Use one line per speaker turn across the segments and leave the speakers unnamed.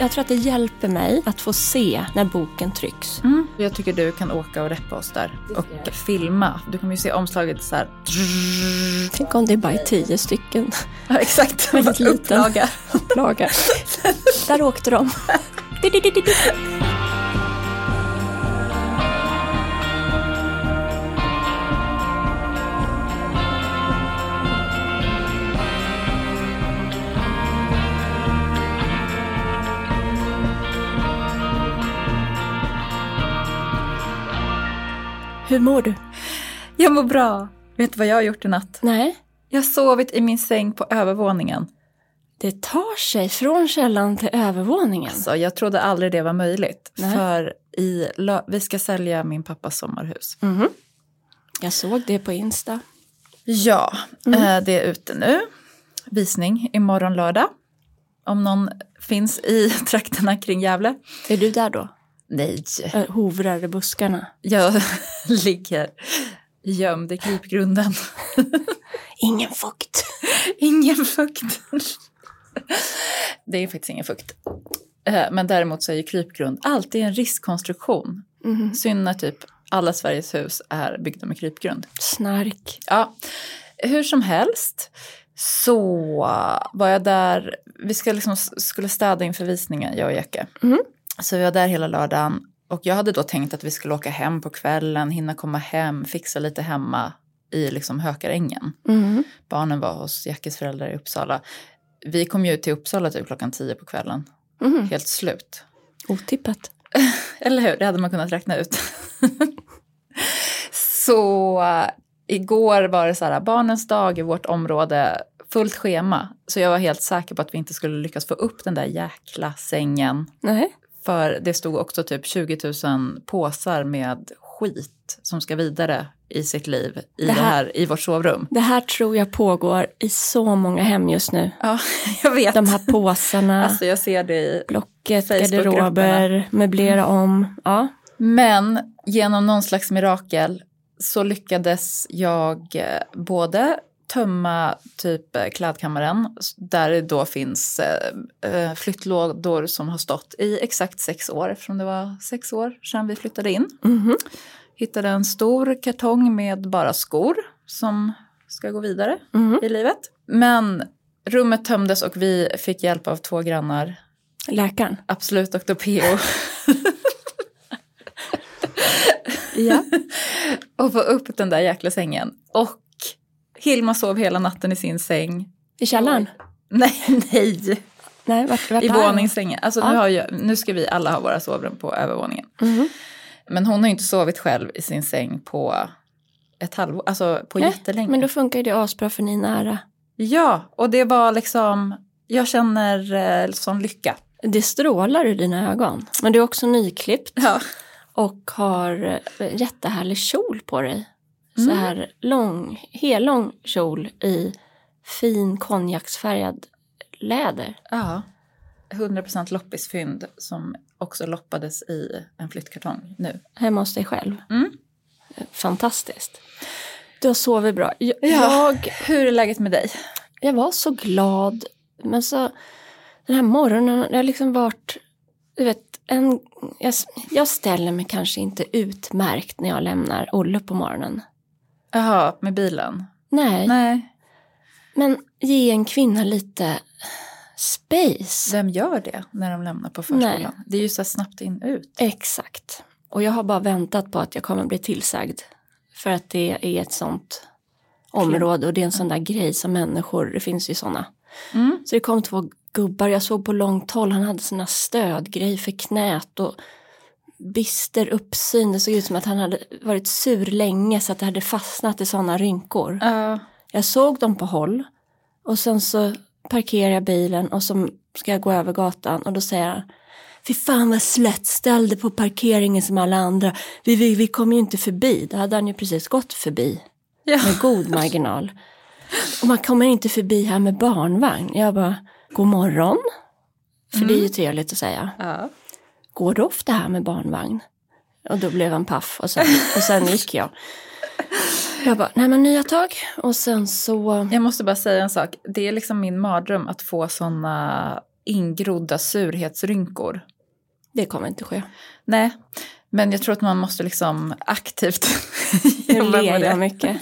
Jag tror att det hjälper mig att få se när boken trycks.
Mm. Jag tycker du kan åka och reppa oss där och filma. Du kommer ju se omslaget så här.
Tänk om det är bara är tio stycken
Ja, exakt.
Väldigt liten.
Upplaga.
lagar. Där åkte de. Di-di-di-di-di. Hur mår du?
Jag mår bra. Vet du vad jag har gjort i natt?
Nej,
Jag har sovit i min säng på övervåningen.
det tar sig från källan till övervåningen.
Alltså, jag trodde aldrig det var möjligt.
Nej.
För i, lö- vi ska sälja min pappas sommarhus.
Mhm. Jag såg det på Insta.
Ja, eh, det är ute nu. Visning imorgon lördag. Om någon finns i trakterna kring Gävle.
Är du där då?
Nej,
Eh, Hovrar i buskarna?
jag ligger gömd i krypgrunden.
Ingen fukt.
Ingen fukt. Det är faktiskt ingen fukt. Eh, Men däremot så är ju krypgrund alltid en riskkonstruktion.
Mm-hmm.
Synd när typ alla Sveriges hus är byggda med krypgrund.
Snark.
Ja, hur som helst så var jag där. Vi ska liksom, skulle städa inför visningen, jag och Jacke.
Mm.
Så vi var där hela lördagen. Och jag hade då tänkt att vi skulle åka hem på kvällen, hinna komma hem, fixa lite hemma i liksom Hökarängen.
Mm-hmm.
Barnen var hos Jackes föräldrar i Uppsala. Vi kom ju till Uppsala typ klockan tio på kvällen,
Mhm.
helt slut.
Otippat.
Eller hur? Det hade man kunnat räkna ut. så eh, igår var det så här, barnens dag i vårt område, fullt schema. Så jag var helt säker på att vi inte skulle lyckas få upp den där jäkla sängen.
Nej.
För det stod också typ 20 000 påsar med skit som ska vidare i sitt liv i,
Det
det
här-
här... i vårt sovrum.
Det här tror jag pågår i så många hem just nu.
Ja, jag vet.
De här påsarna,
Alltså jag ser det i
blocket,
Facebookgrupperna.
garderober, möblera om. Ja.
Men genom någon slags mirakel så lyckades jag eh, både tömma typ eh, klädkammaren s- där det då finns eh, eh, flyttlådor som har stått i exakt sex år eftersom det var sex år sedan vi flyttade in.
Mhm.
Hittade en stor kartong med bara skor som ska gå vidare
Mhm.
i livet. Men rummet tömdes och vi fick hjälp av två grannar
Läkaren.
Absolut Dr. PO.
Ja.
och få upp den där jäkla sängen. Och Hilma sov hela natten i sin säng.
I källaren?
Nej, nej.
Nej, vart, vart
I
är han?
våningssängen. Alltså,
Ja.
nu, har jag, nu ska vi alla ha våra sovrum på övervåningen.
Mhm.
Men hon har ju inte sovit själv i sin säng på ett halvår, alltså på
Nej,
jättelänge.
Men då funkar ju det asbra för ni är nära.
Ja, och det var liksom, jag känner eh, sån lycka.
Det strålar ur dina ögon. Men du är också nyklippt
Ja.
och har eh, jättehärlig kjol på dig. Så
Mm.
här lång, hellång kjol i fin konjaksfärgad läder.
Ja. 100% loppisfynd som också loppades i en flyttkartong nu.
Hemma hos dig själv.
Mm.
Fantastiskt. Du har sovit bra. Jag,
Ja.
jag,
Hur är läget med dig?
jag var så glad. Men så den här morgonen, det har liksom varit... Du vet, en, jag, jag ställer mig kanske inte utmärkt när jag lämnar Olle på morgonen.
Jaha, med bilen?
Nej,
Nej.
men ge en kvinna lite space.
Vem gör det när de lämnar på förskolan?
Nej.
Det är ju så här snabbt in ut.
Exakt. Och jag har bara väntat på att jag kommer bli tillsagd. För att det är ett sånt område och det är en sån där grej som människor, det finns ju såna.
Mm.
Så det kom två gubbar, jag såg på långt håll, han hade sina stödgrejer för knät och bister uppsyn. Det såg ut som att han hade varit sur länge så att det hade fastnat i såna rynkor.
Ja.
Jag såg dem på håll och sen så parkerar jag bilen och så ska jag gå över gatan och då säger han Fy fan vad slött, ställ dig på parkeringen som alla andra. Vi, vi, vi kom ju inte förbi, då hade han ju precis gått förbi
ja.
med god marginal. Och man kommer inte förbi här med barnvagn. Jag bara, god morgon. För det är ju trevligt att säga.
ja.
Går du ofta här med barnvagn? Och då blev han paff och sen, och sen gick jag. Jag bara, nej men nya tag. Och sen så...
Jag måste bara säga en sak. Det är liksom min mardröm att få såna ingrodda surhetsrynkor.
Det kommer inte ske.
Nej, men jag tror att man måste liksom aktivt
Nu
jobba
ler jag
med det.
mycket.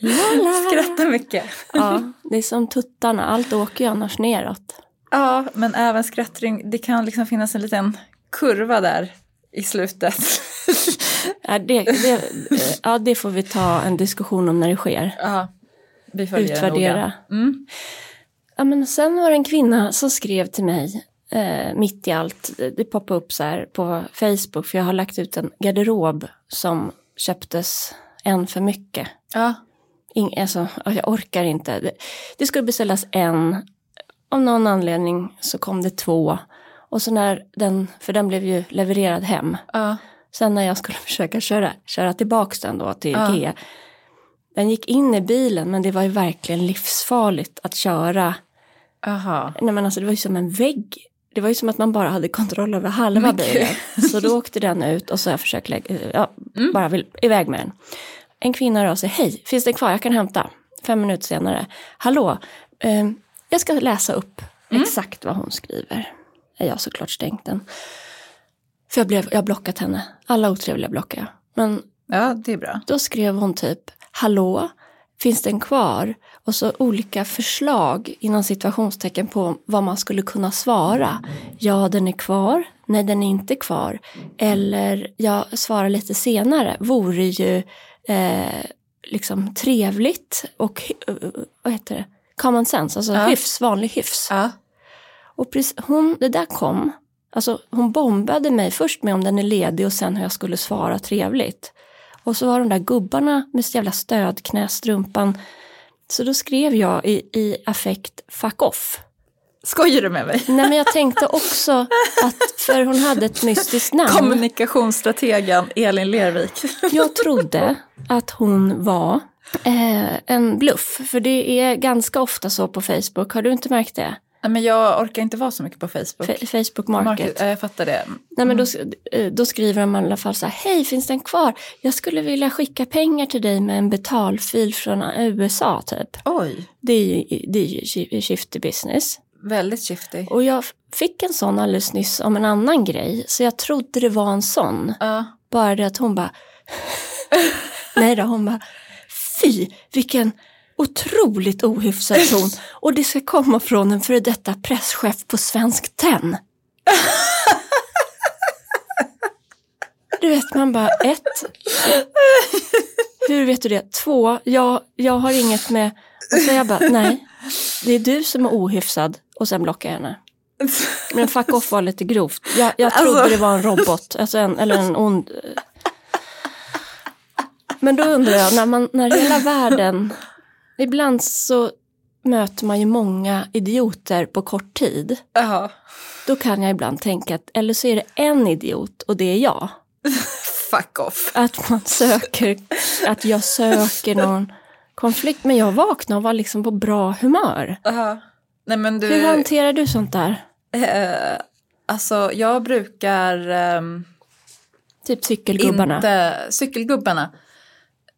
La, la.
Skratta mycket.
Ja, det är som tuttarna, allt åker ju annars neråt.
Ja, men även skrattring, det kan liksom finnas en liten kurva där i slutet.
Ja, det, det, ja, det får vi ta en diskussion om när det sker.
ja, vi följer det noga.
Utvärdera.
Mm.
Ja, men sen var det en kvinna som skrev till mig eh, mitt i allt. Det poppade upp så här på Facebook för jag har lagt ut en garderob som köptes en för mycket.
Ja,
Ing, alltså, ja, jag orkar inte. Det, det skulle beställas en. Av någon anledning så kom det två. Och så när den, för den blev ju levererad hem.
ja,
Sen när jag skulle försöka köra, köra tillbaks den då till
Ja.
Ikea. Den gick in i bilen men det var ju verkligen livsfarligt att köra.
aha.
Nej men alltså det var ju som en vägg. Det var ju som att man bara hade kontroll över halva bilen. Så då åkte den ut och så har jag försökt lägga, eh, ja, bara vill iväg med den. En kvinna rör sig, hej, finns det kvar, jag kan hämta. Fem minuter senare, hallå, ehm, jag ska läsa upp exakt vad hon skriver. Jag har såklart stängt den. För jag, blev, jag har blockat henne, alla otrevliga blockar jag. Men
Ja, det är bra.
då skrev hon typ hallå, finns den kvar? Och så olika förslag inom situationstecken på vad man skulle kunna svara. Ja, den är kvar. Nej, den är inte kvar. Eller jag svarar lite senare. Vore ju eh, liksom trevligt och eh, vad heter det? Common sense, alltså
Ja.
hyfs, vanlig hyfs.
Ja,
Och precis, hon, det där kom. Alltså hon bombade mig först med om den är ledig och sen hur jag skulle svara trevligt. Och så var de där gubbarna med så jävla stödknästrumpan. Så då skrev jag i, i affekt fuck off.
skojar du med mig?
Nej men jag tänkte också att, för hon hade ett mystiskt
Mm.
namn.
Kommunikationsstrategen Elin Lervik.
Jag trodde att hon var eh, en bluff. För det är ganska ofta så på Facebook, har du inte märkt det?
Nej, men jag orkar inte vara så mycket på Facebook.
Fe- Facebook Market.
Market, ja, jag fattar det.
Nej, men då, eh, då skriver de i alla fall så här, hej finns den kvar? Jag skulle vilja skicka pengar till dig med en betalfil från USA typ.
Oj,
Det är ju, det är ju shi- shifty business.
väldigt shifty.
Och jag f- fick en sån alldeles nyss om en annan grej, så jag trodde det var en sån.
Ja,
Bara det att hon bara, nej då, hon bara, fy vilken otroligt ohyfsad ton. Och det ska komma från en före detta presschef på Svensk Tenn. Du vet, man bara ett, hur vet du det? Två, jag, jag har inget med, och så jag bara, nej, det är du som är ohyfsad. Och sen blockar jag henne. Men fuck off var lite grovt. Jag, jag trodde
Alltså-
det var en robot, alltså en, eller en ond... Men då undrar jag, när, man, när hela världen... Ibland så möter man ju många idioter på kort tid.
jaha.
Då kan jag ibland tänka att, eller så är det en idiot och det är jag.
Fuck off.
Att man söker, att jag söker någon konflikt. Men jag vaknade och var liksom på bra humör.
Jaha. Nej men du,
Hur hanterar du sånt där?
eh, alltså jag brukar ehm,
Typ cykelgubbarna?
inte, cykelgubbarna.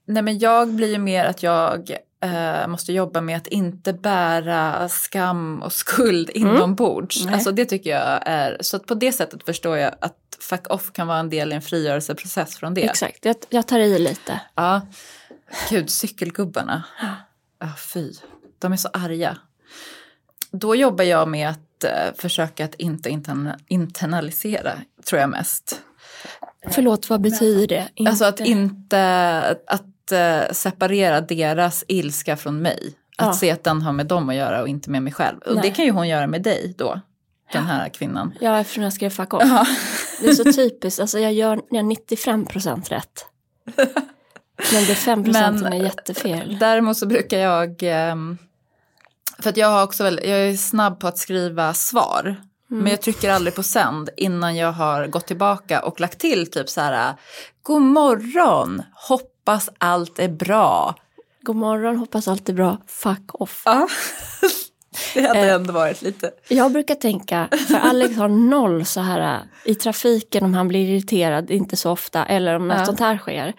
Nej men jag blir ju mer att jag eh, måste jobba med att inte bära skam och skuld inombords.
Nej.
Alltså det tycker jag är, så att på det sättet förstår jag att fuck off kan vara en del i en frigörelseprocess från det.
Exakt, jag, jag tar i lite.
Ja. Gud, cykelgubbarna. Ja, fy. De är så arga. Då jobbar jag med att eh, försöka att inte interna- internalisera, tror jag mest.
Förlåt, vad betyder det? Inte-
Alltså att inte att eh, separera deras ilska från mig. Att
Ja.
se att den har med dem att göra och inte med mig själv. Och det
Nej.
kan ju hon göra med dig då, den här kvinnan.
Ja, eftersom jag skrev fuck off.
Ja.
Det är så typiskt, alltså jag gör jag har 95 procent rätt. Men det är 5 procent som
Men-
är jättefel.
Däremot så brukar jag... ehm, För att jag, har också väl, jag är snabb på att skriva svar.
Mm.
Men jag trycker aldrig på sänd innan jag har gått tillbaka och lagt till typ så här. God morgon, hoppas allt är bra.
God morgon, hoppas allt är bra, fuck off.
Ja. Det hade
Eh.
ändå varit lite...
Jag brukar tänka, för Alex har noll så här äh, i trafiken om han blir irriterad, inte så ofta, eller om något
Ja.
sånt här sker.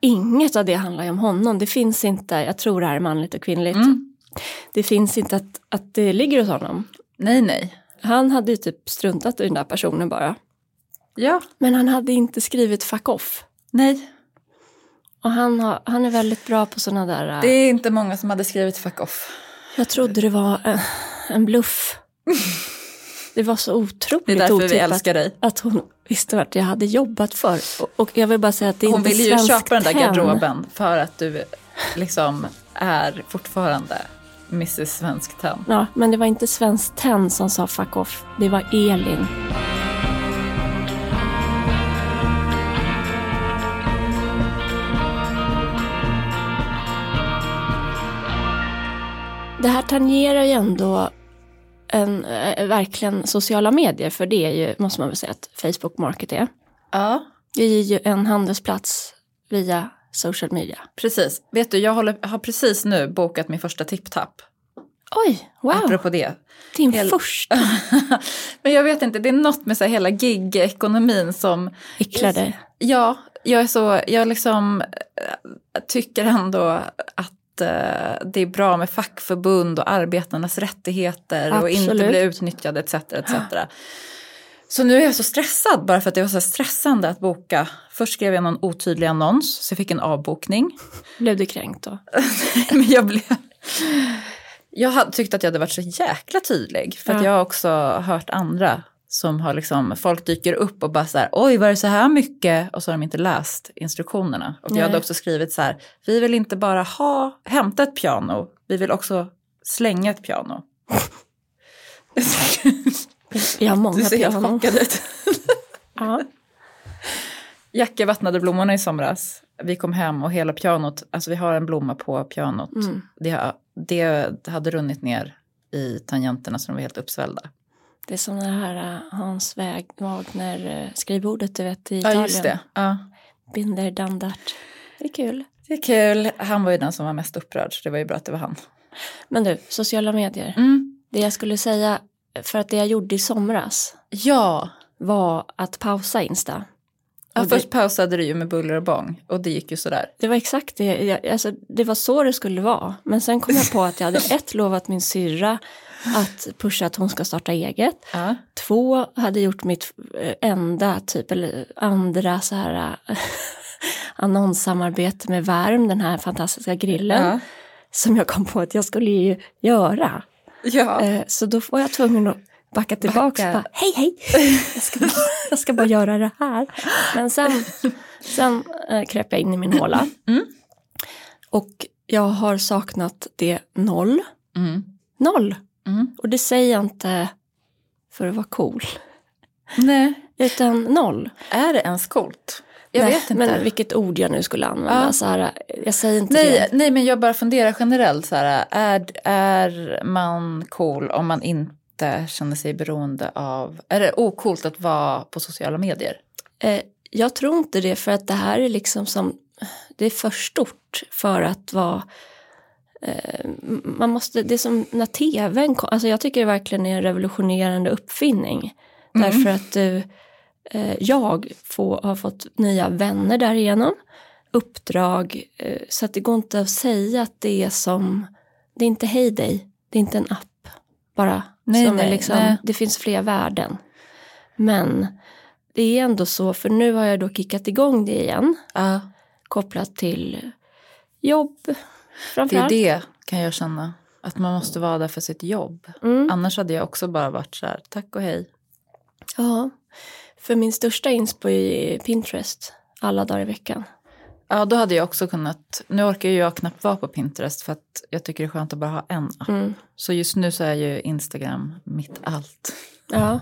Inget av det handlar ju om honom, det finns inte, jag tror det här är manligt och kvinnligt,
Mm.
det finns inte att, att det ligger hos honom.
Nej, nej.
Han hade ju typ struntat i den där personen bara.
Ja,
Men han hade inte skrivit fuck off.
nej.
Och han, har, han är väldigt bra på sådana där... eh,
Det är inte många som hade skrivit fuck off.
Jag trodde det var en, en bluff. Det var så otroligt
Det är därför
otippat
vi älskar dig.
att hon visste vart jag hade jobbat för. Och, och jag vill bara säga att det är
Hon
inte
ville ju
svenskt
köpa den där
hem.
garderoben för att du liksom är fortfarande Mrs Svensk Tenn.
Ja, men det var inte Svenskt Tenn som sa fuck off. Det var Elin. Det här tangerar ju ändå en, eh, verkligen sociala medier, för det är ju, måste man väl säga att Facebook Market är.
Ja,
Det är ju en handelsplats via social media.
precis. Vet du, jag håller, har precis nu bokat min första tipptapp.
Oj, wow!
Apropå det.
Din
hel-
första
Men jag vet inte, det är något med så här hela gig-ekonomin som
äcklar dig.
Ja, jag är så, jag liksom eh, tycker ändå att eh, det är bra med fackförbund och arbetarnas rättigheter och
Absolut.
inte bli utnyttjade etc. etc. Så nu är jag så stressad bara för att det var så här stressande att boka. Först skrev jag någon otydlig annons så jag fick en avbokning.
Blev du kränkt då?
Men jag blev... Jag hade tyckt att jag hade varit så jäkla tydlig. För att
Ja.
jag har också hört andra som har liksom, folk dyker upp och bara så här, oj var det så här mycket? Och så har de inte läst instruktionerna. Och
Nej.
jag hade också skrivit så här, vi vill inte bara ha, hämta ett piano, vi vill också slänga ett piano.
Vi har många
du ser helt
pianon.
chockad ut.
Ja.
Jacke vattnade blommorna i somras. Vi kom hem och hela pianot, alltså vi har en blomma på pianot.
Mm.
Det, det hade runnit ner i tangenterna så de var helt uppsvällda.
Det är som det här eh, Hans Väg- Wagner-skrivbordet du vet i
Ja,
Italien.
just det. Ja.
Binder dandart. Det är kul.
Det är kul. Han var ju den som var mest upprörd, så det var ju bra att det var han.
Men du, sociala medier.
Mm.
Det jag skulle säga, för att det jag gjorde i somras
Ja.
var att pausa Insta.
ja
Och det-
först pausade du ju med buller och bång och det gick ju sådär.
Det var exakt det, jag, alltså, det var så det skulle vara. Men sen kom jag på att jag hade ett lovat min syrra att pusha att hon ska starta eget.
Ja.
Två hade gjort mitt eh, enda, typ, eller andra så här eh, annonssamarbete med Värm, den här fantastiska grillen,
Ja.
som jag kom på att jag skulle ju göra.
ja.
Eh, Så då var jag tvungen att backa tillbaka.
Backa.
Bara, hej, hej! Jag ska, bara, jag ska bara göra det här. Men sen, sen eh, kröp jag in i min håla.
Mm.
Och jag har saknat det noll.
Mm.
Noll!
Mm.
Och det säger jag inte för att vara cool,
Nej.
utan noll.
Är det ens coolt? Jag
Nej,
vet inte.
Men vilket ord jag nu skulle använda.
Ja.
Så här, jag säger inte
Nej,
det.
nej, men jag bara funderar generellt så här, är, är man cool om man inte känner sig beroende av, är det ocoolt att vara på sociala medier?
Eh, jag tror inte det för att det här är liksom som, det är för stort för att vara eh, man måste, det är som när tvn kom, alltså jag tycker det verkligen är en revolutionerande uppfinning.
Mm.
Därför att du, eh, jag får, har fått nya vänner därigenom, uppdrag, eh, så att det går inte att säga att det är som, det är inte Heyday, det är inte en app bara.
Nej,
som är
nej,
liksom,
nej.
Det finns fler värden. Men det är ändå så, för nu har jag då kickat igång det igen,
Ja,
kopplat till jobb
det är
framförallt.
det kan jag känna, att man måste vara där för sitt jobb.
Mm.
Annars hade jag också bara varit så här, tack och hej.
Ja, för min största inspo är Pinterest alla dagar i veckan.
Ja, då hade jag också kunnat, nu orkar ju jag knappt vara på Pinterest för att jag tycker det är skönt att bara ha en app.
Mm.
Så just nu så är ju Instagram mitt allt.
Ja.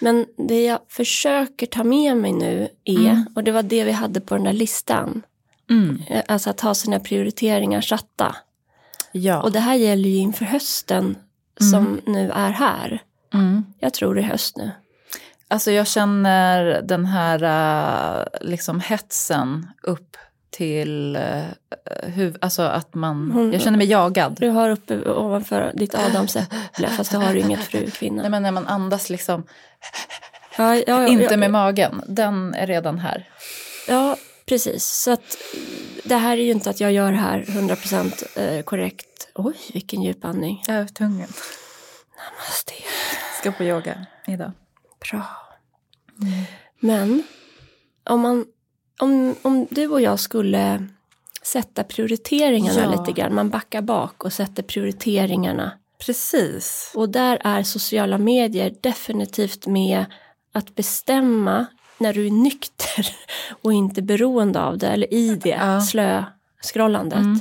Men det jag försöker ta med mig nu är,
Mm.
och det var det vi hade på den där listan,
Mm.
eh, alltså att ha sina prioriteringar satta.
Ja.
Och det här gäller ju inför hösten som nu är här.
mm.
Jag tror det är höst nu.
Alltså jag känner den här eh, liksom hetsen upp till eh, huv- alltså att man,
Hon-
jag känner mig jagad.
Du har uppe ovanför ditt adamsäpple, fast du har inget fru
Nej
kvinna.
men när man andas liksom,
Ja, ja, ja,
inte
ja,
med magen, den är redan här.
Ja, precis. Så att eh, det här är ju inte att jag gör det här 100% eh, korrekt. Oj, vilken djup andning.
Över tungan.
Fast det-
Ska ska på yoga idag.
Bra. Men om, man, om, om du och jag skulle sätta prioriteringarna
Ja.
lite grann, man backar bak och sätter prioriteringarna.
Precis.
Och där är sociala medier definitivt med att bestämma när du är nykter och inte beroende av det eller i det
Ja.
slöskrollandet.
Mm.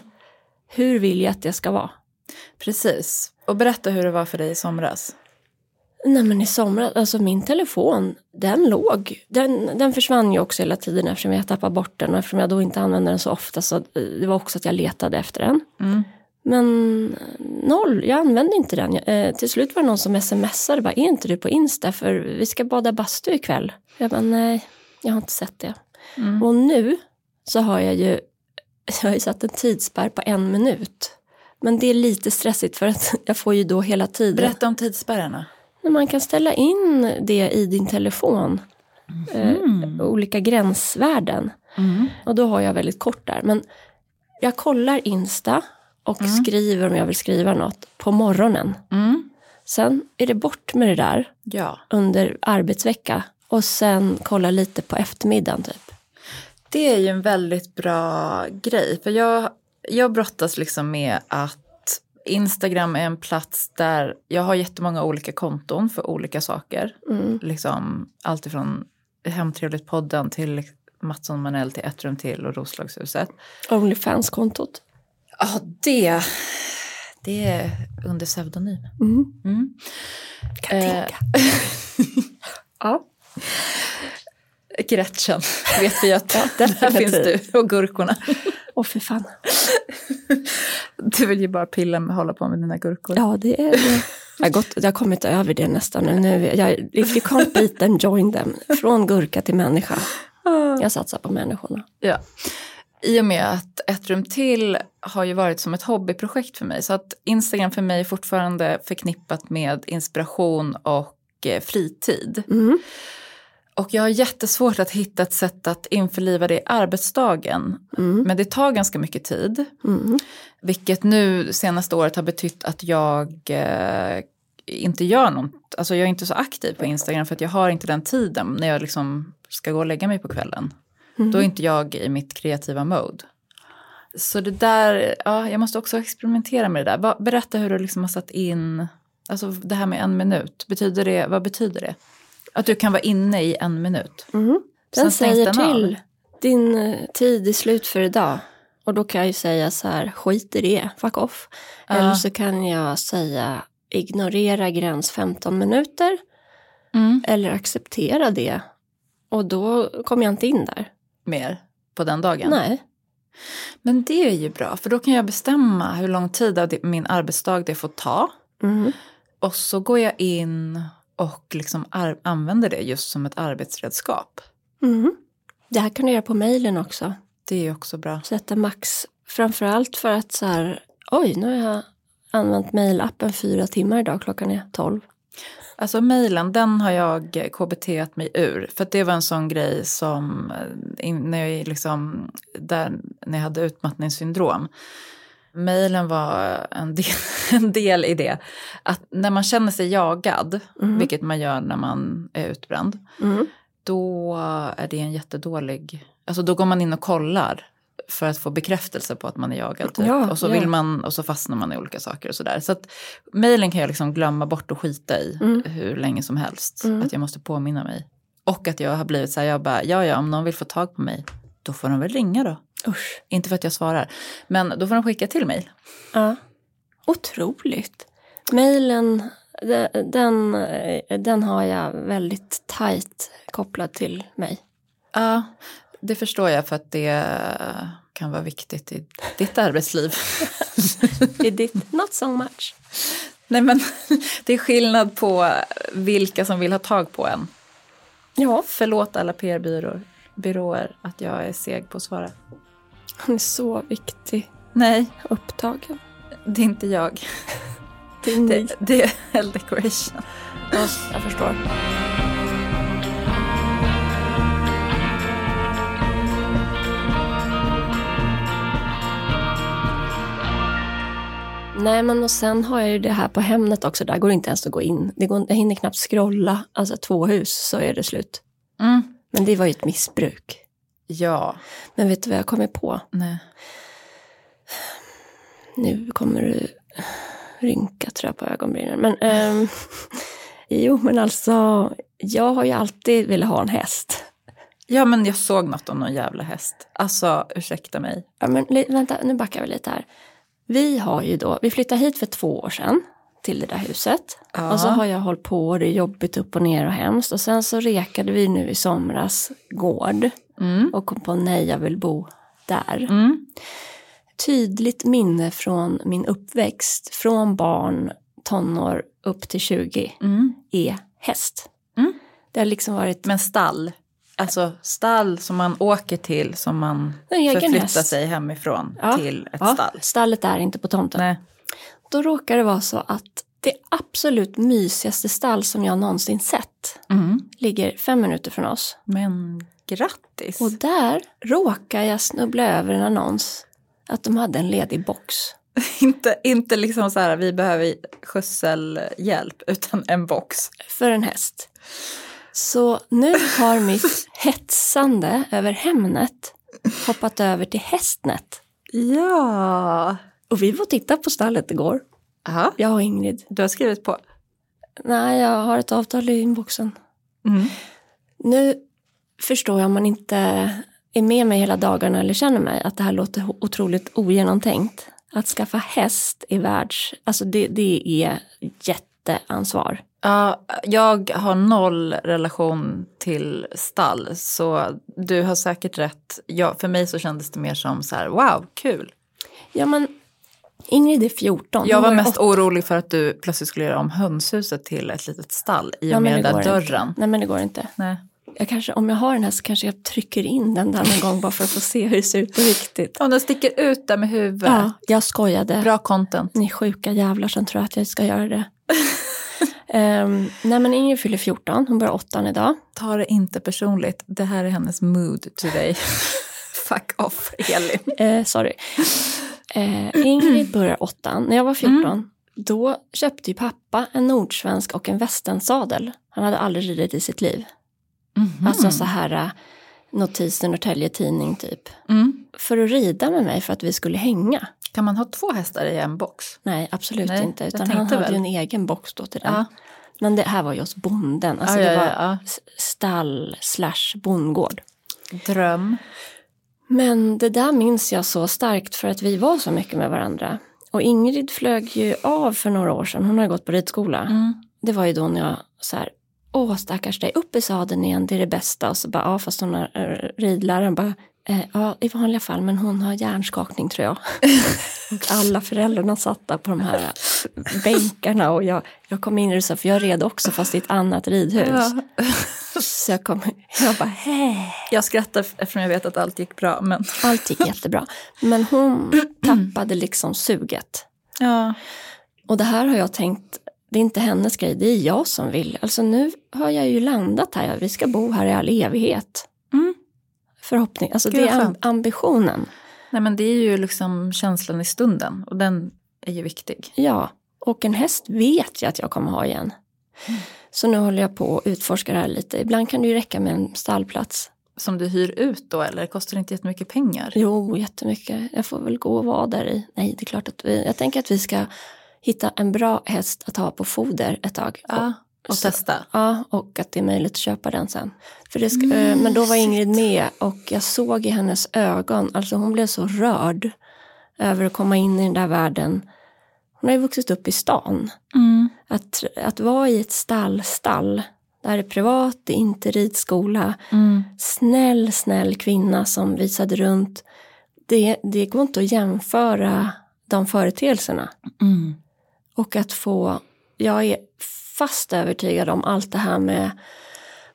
Hur vill jag att det ska vara?
Precis. Och berätta hur det var för dig i somras.
Nej men i somras, alltså min telefon, den låg. Den, den försvann ju också hela tiden eftersom jag tappade bort den och eftersom jag då inte använde den så ofta så eh, det var också att jag letade efter den.
Mm.
Men eh, noll, jag använde inte den. Jag, Eh, till slut var det någon som smsade bara, är inte du på Insta för vi ska bada bastu ikväll? Jag bara, nej, jag har inte sett det.
Mm.
Och nu så har jag ju, jag har ju satt en tidsspärr på en minut. Men det är lite stressigt för att jag får ju då hela tiden
Berätta om tidsspärrarna.
när man kan ställa in det i din telefon, eh,
Mm.
olika gränsvärden. Och då har jag väldigt kort där. Men jag kollar Insta och
Mm.
skriver om jag vill skriva något på morgonen.
Mm.
Sen är det bort med det där
Ja.
under arbetsvecka och sen kolla lite på eftermiddagen typ.
Det är ju en väldigt bra grej. För jag, jag brottas liksom med att Instagram är en plats där jag har jättemånga olika konton för olika saker.
Mm.
Liksom allt ifrån Hemtrevligt-podden till Mattsson Manell till Ett rum till och Roslagshuset.
Onlyfans-kontot.
Ja, det, det är under pseudonym.
Mm.
Mm.
Katinka. ja.
Gretchen vet vi att där finns
definitivt.
du och gurkorna.
Åh fy fan.
Du vill ju bara pilla med hålla på med dina gurkor.
Ja, det är Jag har, gått, jag har kommit över det nästan nu. nu jag, if you can't beat them, join them. Från gurka till människa. Jag satsar på människorna.
Ja. I och med att ett rum till har ju varit som ett hobbyprojekt för mig. Så att Instagram för mig är fortfarande förknippat med inspiration och eh, fritid.
Mm.
Och jag har jättesvårt att hitta ett sätt att införliva det i arbetsdagen.
Mm.
Men det tar ganska mycket tid.
Mm.
Vilket nu senaste året har betytt att jag eh, inte gör något. Alltså jag är inte så aktiv på Instagram för att jag har inte den tiden när jag liksom ska gå och lägga mig på kvällen.
Mm.
Då är inte jag i mitt kreativa mode. Så det där, ja, jag måste också experimentera med det där. Va- Berätta hur du liksom har satt in, alltså det här med en minut, betyder det, vad betyder det? Att du kan vara inne i en minut.
Mm. Den
Sen stängs
säger
den av.
till. Din eh, tid är slut för idag. Och då kan jag ju säga så här, skit i det, fuck off.
Ja.
Eller så kan jag säga, ignorera gräns 15 minuter. Eller acceptera det. Och då kommer jag inte in där.
Mer på den dagen.
Nej.
Men det är ju bra, för då kan jag bestämma hur lång tid av det- min arbetsdag det får ta. Mm-hmm.
Mm.
Och så går jag in och liksom ar- använder det just som ett arbetsredskap.
Mm. Det här kan du göra på mejlen också.
Det är ju också bra.
sätta max. Framförallt för att så här, oj, nu har jag använt mejlappen fyra timmar idag, klockan är tolv.
Alltså mejlen, den har jag KBT-at mig ur. För att det var en sån grej som, eh, in, när, jag liksom, där, när jag hade utmattningssyndrom. Mejlen var en del, en del i det. Att när man känner sig jagad,
Mm.
vilket man gör när man är utbränd,
Mm.
då är det en jättedålig... Alltså då går man in och kollar för att få bekräftelse på att man är jagad. Typ.
Ja,
och, så
ja.
vill man, och så fastnar man i olika saker och sådär. Så att mejlen kan jag liksom glömma bort och skita i
Mm.
hur länge som helst.
Mm.
Att jag måste påminna mig. Och att jag har blivit så här, jag bara, ja ja, om någon vill få tag på mig, då får de väl ringa då.
Usch.
Inte för att jag svarar, men då får de skicka till mejl.
Ja. Otroligt. Mejlen, de- den, eh, den har jag väldigt tajt kopplad till mig.
Ja, det förstår jag för att det kan vara viktigt i ditt arbetsliv.
I ditt, not so much.
Nej men det är skillnad på vilka som vill ha tag på en.
Ja,
Förlåt alla PR-byråer byråer att jag är seg på att svara.
hon är så viktig.
Nej,
Upptagen.
det är inte jag.
Det är ni.
Det, det är Hell Decoration.
Ja, jag förstår. Nej, men och sen har jag ju det här på Hemnet också. Där går det inte ens att gå in. Det går, jag hinner knappt scrolla. Alltså två hus så är det slut.
Mm.
Men det var ju ett missbruk.
Ja.
Men vet du vad jag kommer på?
Nej.
Nu kommer du rynka tror jag på ögonbrynen. Men ehm, jo, men alltså. Jag har ju alltid velat ha en häst.
Ja, men jag såg något om någon jävla häst. Alltså, ursäkta mig.
Ja, men li- vänta, nu backar vi lite här. Vi har ju då, vi flyttade hit för två år sedan till det där huset.
Ja.
Och så har jag hållit på och det är jobbigt upp och ner och hemskt. Och sen så rekade vi nu i somras gård
Mm.
och kom på nej, jag vill bo där.
Mm.
Tydligt minne från min uppväxt, från barn, tonår upp till 20
Mm.
är häst.
Mm.
Det har liksom varit
Men stall. Alltså stall som man åker till, som man
en egen
förflyttar
häst.
sig hemifrån
Ja.
till ett
Ja,
stall.
stallet är inte på tomten.
Nej.
Då råkar det vara så att det absolut mysigaste stall som jag någonsin sett
Mm.
ligger fem minuter från oss.
Men grattis.
Och där råkar jag snubbla över en annons att de hade en ledig box.
inte, inte liksom så här, vi behöver skjutselhjälp, utan en box.
för en häst. Så nu har mitt hetsande över Hemnet hoppat över till Hästnet.
Ja.
Och vi var och tittade på stallet igår,
Aha.
jag och Ingrid.
Du har skrivit på.
Nej, jag har ett avtal i inboxen.
Mm.
Nu förstår jag om man inte är med mig hela dagarna eller känner mig att det här låter ho- otroligt ogenomtänkt. Att skaffa häst i världs... Alltså det, det är jätteansvar.
Ja, jag har noll relation till stall, så du har säkert rätt. Ja, för mig så kändes det mer som så här, wow, kul.
Ja men Ingrid är 14. hon
Jag var
ju
mest
åtta.
orolig för att du plötsligt skulle göra om hönshuset till ett litet stall i
Ja,
och
men
med den
det
där
går
dörren.
Inte. Nej men det går inte.
Nej.
Jag kanske, om jag har den här så kanske jag trycker in den där någon gång bara för att få se hur det ser ut på riktigt.
Om den sticker ut där med huvudet.
Ja, jag skojade.
Bra content.
Ni sjuka jävlar som tror att jag ska göra det. Ehm, nej men Ingrid fyller 14, hon börjar åttan idag.
Ta det inte personligt. Det här är hennes mood today. Fuck off, Elin.
Eh, sorry. Eh, Ingrid börjar åttan. När jag var
Mm.
14, då köpte ju pappa en nordsvensk och en västernsadel. Han hade aldrig ridit i sitt liv.
Mhm.
Alltså så här eh, notis i Norrtälje Tidning typ.
Mm.
För att rida med mig för att vi skulle hänga.
Kan man ha två hästar i en box?
Nej, absolut
Nej,
inte.
jag
Utan han
tänkte
hade
väl.
ju en egen box då till den.
Ja.
Men det här var ju hos bonden. Alltså
Ja,
det
ja,
var
ja, ja.
s- stall slash bondgård.
Dröm.
Men det där minns jag så starkt för att vi var så mycket med varandra. Och Ingrid flög ju av för några år sedan. Hon har gått på ridskola.
Mm.
Det var ju då när jag så här, åh stackars dig, upp i sadeln igen, det är det bästa. Och så bara, ja fast hon har, eh, ridläraren bara, eh, ja i vanliga fall men hon har hjärnskakning tror jag. och alla föräldrarna satt där på de här eh, bänkarna och jag, jag kom in i det så här, för jag red också fast i ett annat ridhus.
Ja.
Så jag kom, jag bara, hej.
Jag skrattar f- eftersom jag vet att allt gick bra. Men...
Allt gick jättebra. Men hon tappade liksom suget.
Ja.
Och det här har jag tänkt, det är inte hennes grej, det är jag som vill. Alltså nu har jag ju landat här, vi ska bo här i all evighet.
Mm.
Förhoppning, alltså
Gud,
det är
vad
am- ambitionen.
Nej, men det är ju liksom känslan i stunden och den är ju viktig.
Ja, och en häst vet jag att jag kommer ha igen.
Mm.
Så nu håller jag på och utforskar det här lite. Ibland kan det ju räcka med en stallplats.
Som du hyr ut då eller kostar det inte jättemycket pengar?
Jo, jättemycket. Jag får väl gå och vara där i. Nej, det är klart att vi, jag tänker att vi ska hitta en bra häst att ha på foder ett tag.
Ja. Och
Så-
testa.
Ja, och att det är möjligt att köpa den sen. För det ska, eh, men då var Ingrid med och jag såg i hennes ögon, alltså hon blev så rörd över att komma in i den där världen. Hon har ju vuxit upp i stan.
Mm.
Att, att vara i ett stall, stall, där det är privat, det är inte ridskola,
Mm.
snäll, snäll kvinna som visade runt. Det, det går inte att jämföra de företeelserna.
Mm.
Och att få, jag är fast övertygad om allt det här med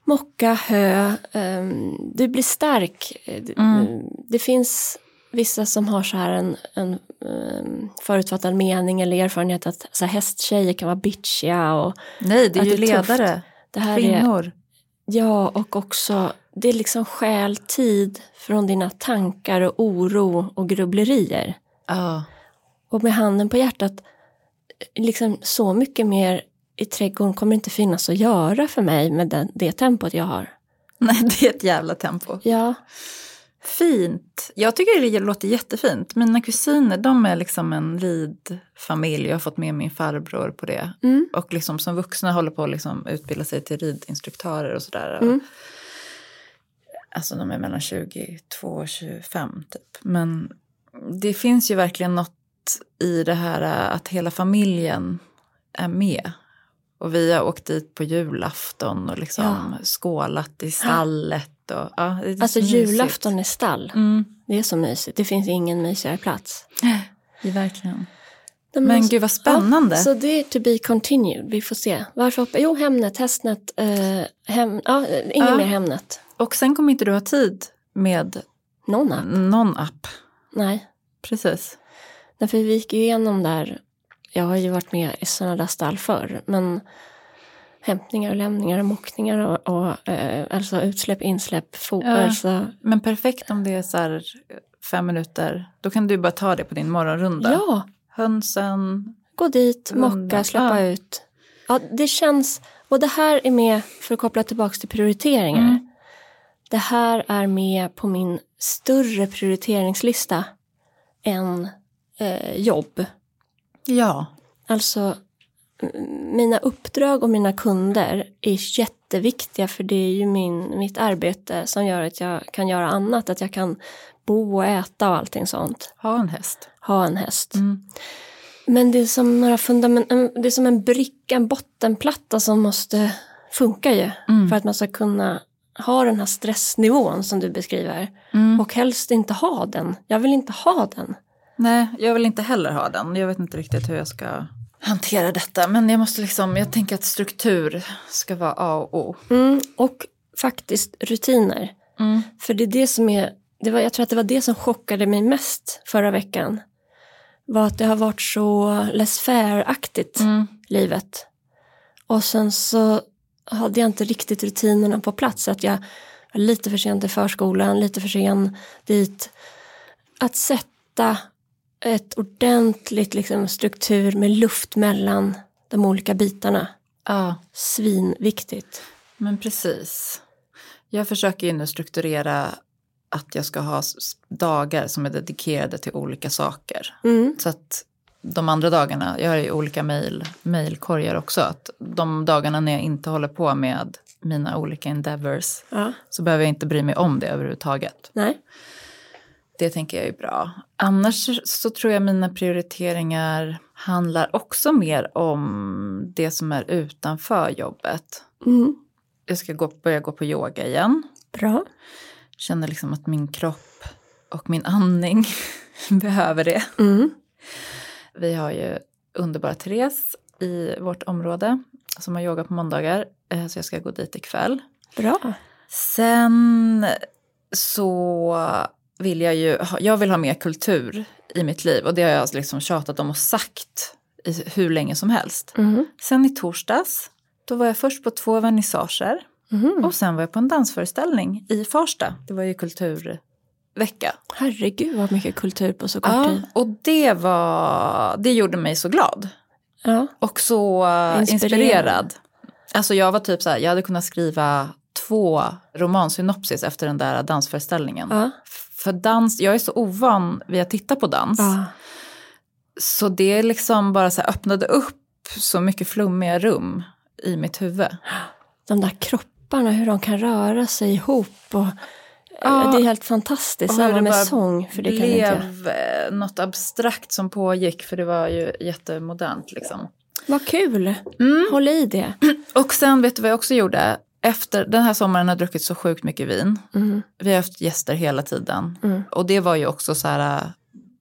mocka, hö, ehm, du blir stark. Eh, d-
Mm.
eh, Det finns vissa som har så här en, en ehm, förutfattad mening eller erfarenhet att så här, hästtjejer kan vara bitchiga och
Nej, det är
Att det
ju
är tufft.
ledare,
det här är,
kvinnor.
ja och också det är liksom stjäl tid från dina tankar och oro och grubblerier.
Ja.
Och med handen på hjärtat, liksom så mycket mer i trädgården kommer inte finnas att göra för mig med den, det tempot jag har.
Nej, det är ett jävla tempo.
Ja,
Fint. Jag tycker det låter jättefint. Mina kusiner, de är liksom en ridfamilj. Jag har fått med min farbror på det.
Mm.
Och liksom som vuxna håller på att liksom utbilda sig till ridinstruktörer och sådär.
Mm.
Alltså de är mellan 22 och 25 typ. Men det finns ju verkligen något i det här eh, att hela familjen är med. Och vi har åkt dit på julafton och liksom
Ja.
skålat i stallet. Och, ja, det är
alltså
så mysigt.
julafton är stall.
Mm.
Det är så mysigt. Det finns ingen mysigare plats.
verkligen.
Nej,
Men
alltså-
gud vad spännande.
Ja, så det är to be continued. Vi får se. Varför hoppar... Jo, Hemnet, Hästnet, eh, hem... ja, eh, ingen
Ja.
mer Hemnet.
Och sen kommer inte du ha tid med
Någon
Mm.
app?
någon app.
Nej.
Precis.
Därför vi gick ju igenom där. Jag har ju varit med i sådana där stall förr. Men hämtningar och lämningar och mockningar och, och eh, alltså utsläpp, insläpp, fo-
Ja.
alltså,
Men perfekt om det är så här fem minuter. Då kan du bara ta det på din morgonrunda.
Ja,
Hönsen.
gå dit, mocka,
Runda.
släppa
Ja.
ut. Ja, det känns, och det här är med, för att koppla tillbaka till prioriteringar.
Mm.
Det här är med på min större prioriteringslista än eh, jobb.
Ja.
Alltså, m- mina uppdrag och mina kunder är jätteviktiga för det är ju min, mitt arbete som gör att jag kan göra annat, att jag kan bo och äta och allting sånt.
Ha en häst.
Ha en häst.
Mm.
Men det är som några fundament, en- det är som en bricka, en bottenplatta som måste funka ju.
Mm.
För att man ska kunna ha den här stressnivån som du beskriver.
Mm.
Och helst inte ha den. Jag vill inte ha den.
Nej, jag vill inte heller ha den. Jag vet inte riktigt hur jag ska hantera detta. Men jag måste liksom, jag tänker att struktur ska vara A och O.
Mm, och faktiskt rutiner.
Mm.
För det är det som är, det var, jag tror att det var det som chockade mig mest förra veckan. Var att det har varit så less fair-aktigt.
Mm.
livet. Och sen så hade jag inte riktigt rutinerna på plats. Så att jag var lite för sen till förskolan, lite för sen dit. Att sätta ett ordentligt liksom, struktur med luft mellan de olika bitarna.
Ja.
Svinviktigt.
Men precis. Jag försöker ju nu strukturera att jag ska ha s- s- dagar som är dedikerade till olika saker.
Mm.
Så att de andra dagarna, jag har ju olika mejl, mejlkorgar också, att de dagarna när jag inte håller på med mina olika endeavors
Ja.
så behöver jag inte bry mig om det överhuvudtaget.
Nej.
Det tänker jag är bra. Annars så tror jag mina prioriteringar handlar också mer om det som är utanför jobbet.
Mm.
Jag ska gå, börja gå på yoga igen.
Bra.
känner liksom att min kropp och min andning behöver det.
Mm.
Vi har ju underbara Therese i vårt område som har yoga på måndagar, eh, så jag ska gå dit ikväll.
Bra.
Sen så vill jag ju, ha- jag vill ha mer kultur i mitt liv och det har jag liksom tjatat om och sagt i hur länge som helst.
Mm.
Sen i torsdags, då var jag först på två vernissager
Mm.
och sen var jag på en dansföreställning i Farsta. Det var ju kulturvecka.
Herregud vad mycket kultur på så kort
Ja,
tid.
och det, var, det gjorde mig så glad
Ja.
och så eh,
Inspirerad.
inspirerad. Alltså jag var typ så här, jag hade kunnat skriva två romansynopsis efter den där dansföreställningen.
Ja.
För dans, jag är så ovan vid att titta på dans.
Ja.
Så det liksom bara så här öppnade upp så mycket flummiga rum i mitt huvud.
de där kropparna, hur de kan röra sig ihop. Och, eh,
Ja.
det är helt fantastiskt.
Och hur
Samma
det
med
bara
sång, för det kan inte jag.
blev eh, något abstrakt som pågick för det var ju jättemodernt liksom.
Vad kul! Håll i det.
Och sen vet du vad jag också gjorde? Efter den här sommaren har jag druckit så sjukt mycket vin.
Mm.
Vi har haft gäster hela tiden.
Mm.
Och det var ju också så här äh,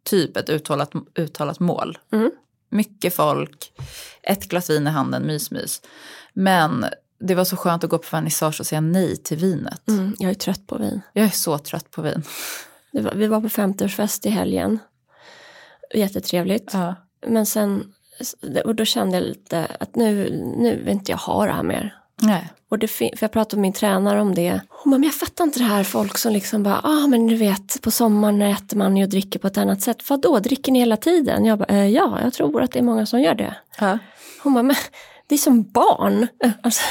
typ ett uttalat, uttalat mål.
Mm.
Mycket folk, ett glas vin i handen, mys mys. Men det var så skönt att gå på vernissage och säga nej till vinet.
Mm. Jag är trött på vin.
Jag är så trött på vin.
Det var, vi var på 50-årsfest i helgen. Jättetrevligt.
Ja.
Men sen, och då kände jag lite att nu, nu vill inte jag ha det här mer.
Nej.
Och det, fin- för jag pratade med min tränare om det. Hon bara, men jag fattar inte det här folk som liksom bara, ah men du vet på sommaren äter man ju och dricker på ett annat sätt. Vadå, dricker ni hela tiden? Jag bara, eh, ja, jag tror att det är många som gör det.
Ja.
Hon bara, men det är som barn. Alltså,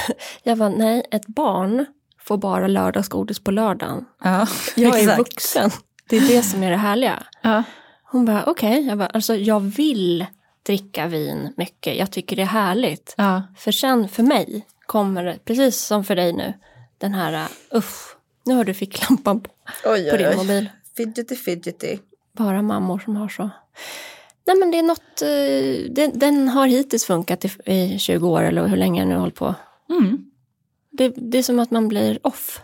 jag bara, nej, ett barn får bara lördagsgodis på lördagen.
Ja,
Jag är
exakt.
vuxen. Det är det som är det härliga.
Ja.
Hon bara, okej, jag bara, alltså jag vill dricka vin mycket. Jag tycker det är härligt.
Ja.
För sen för mig kommer det, precis som för dig nu, den här uh, usch, nu har du ficklampan på,
Oj,
på din mobil.
Fidgety, fidgety.
Bara mammor som har så. Nej men det är något, eh, den, den har hittills funkat i, i 20 år eller hur länge jag nu har hållit på.
Mm.
Det, det är som att man blir off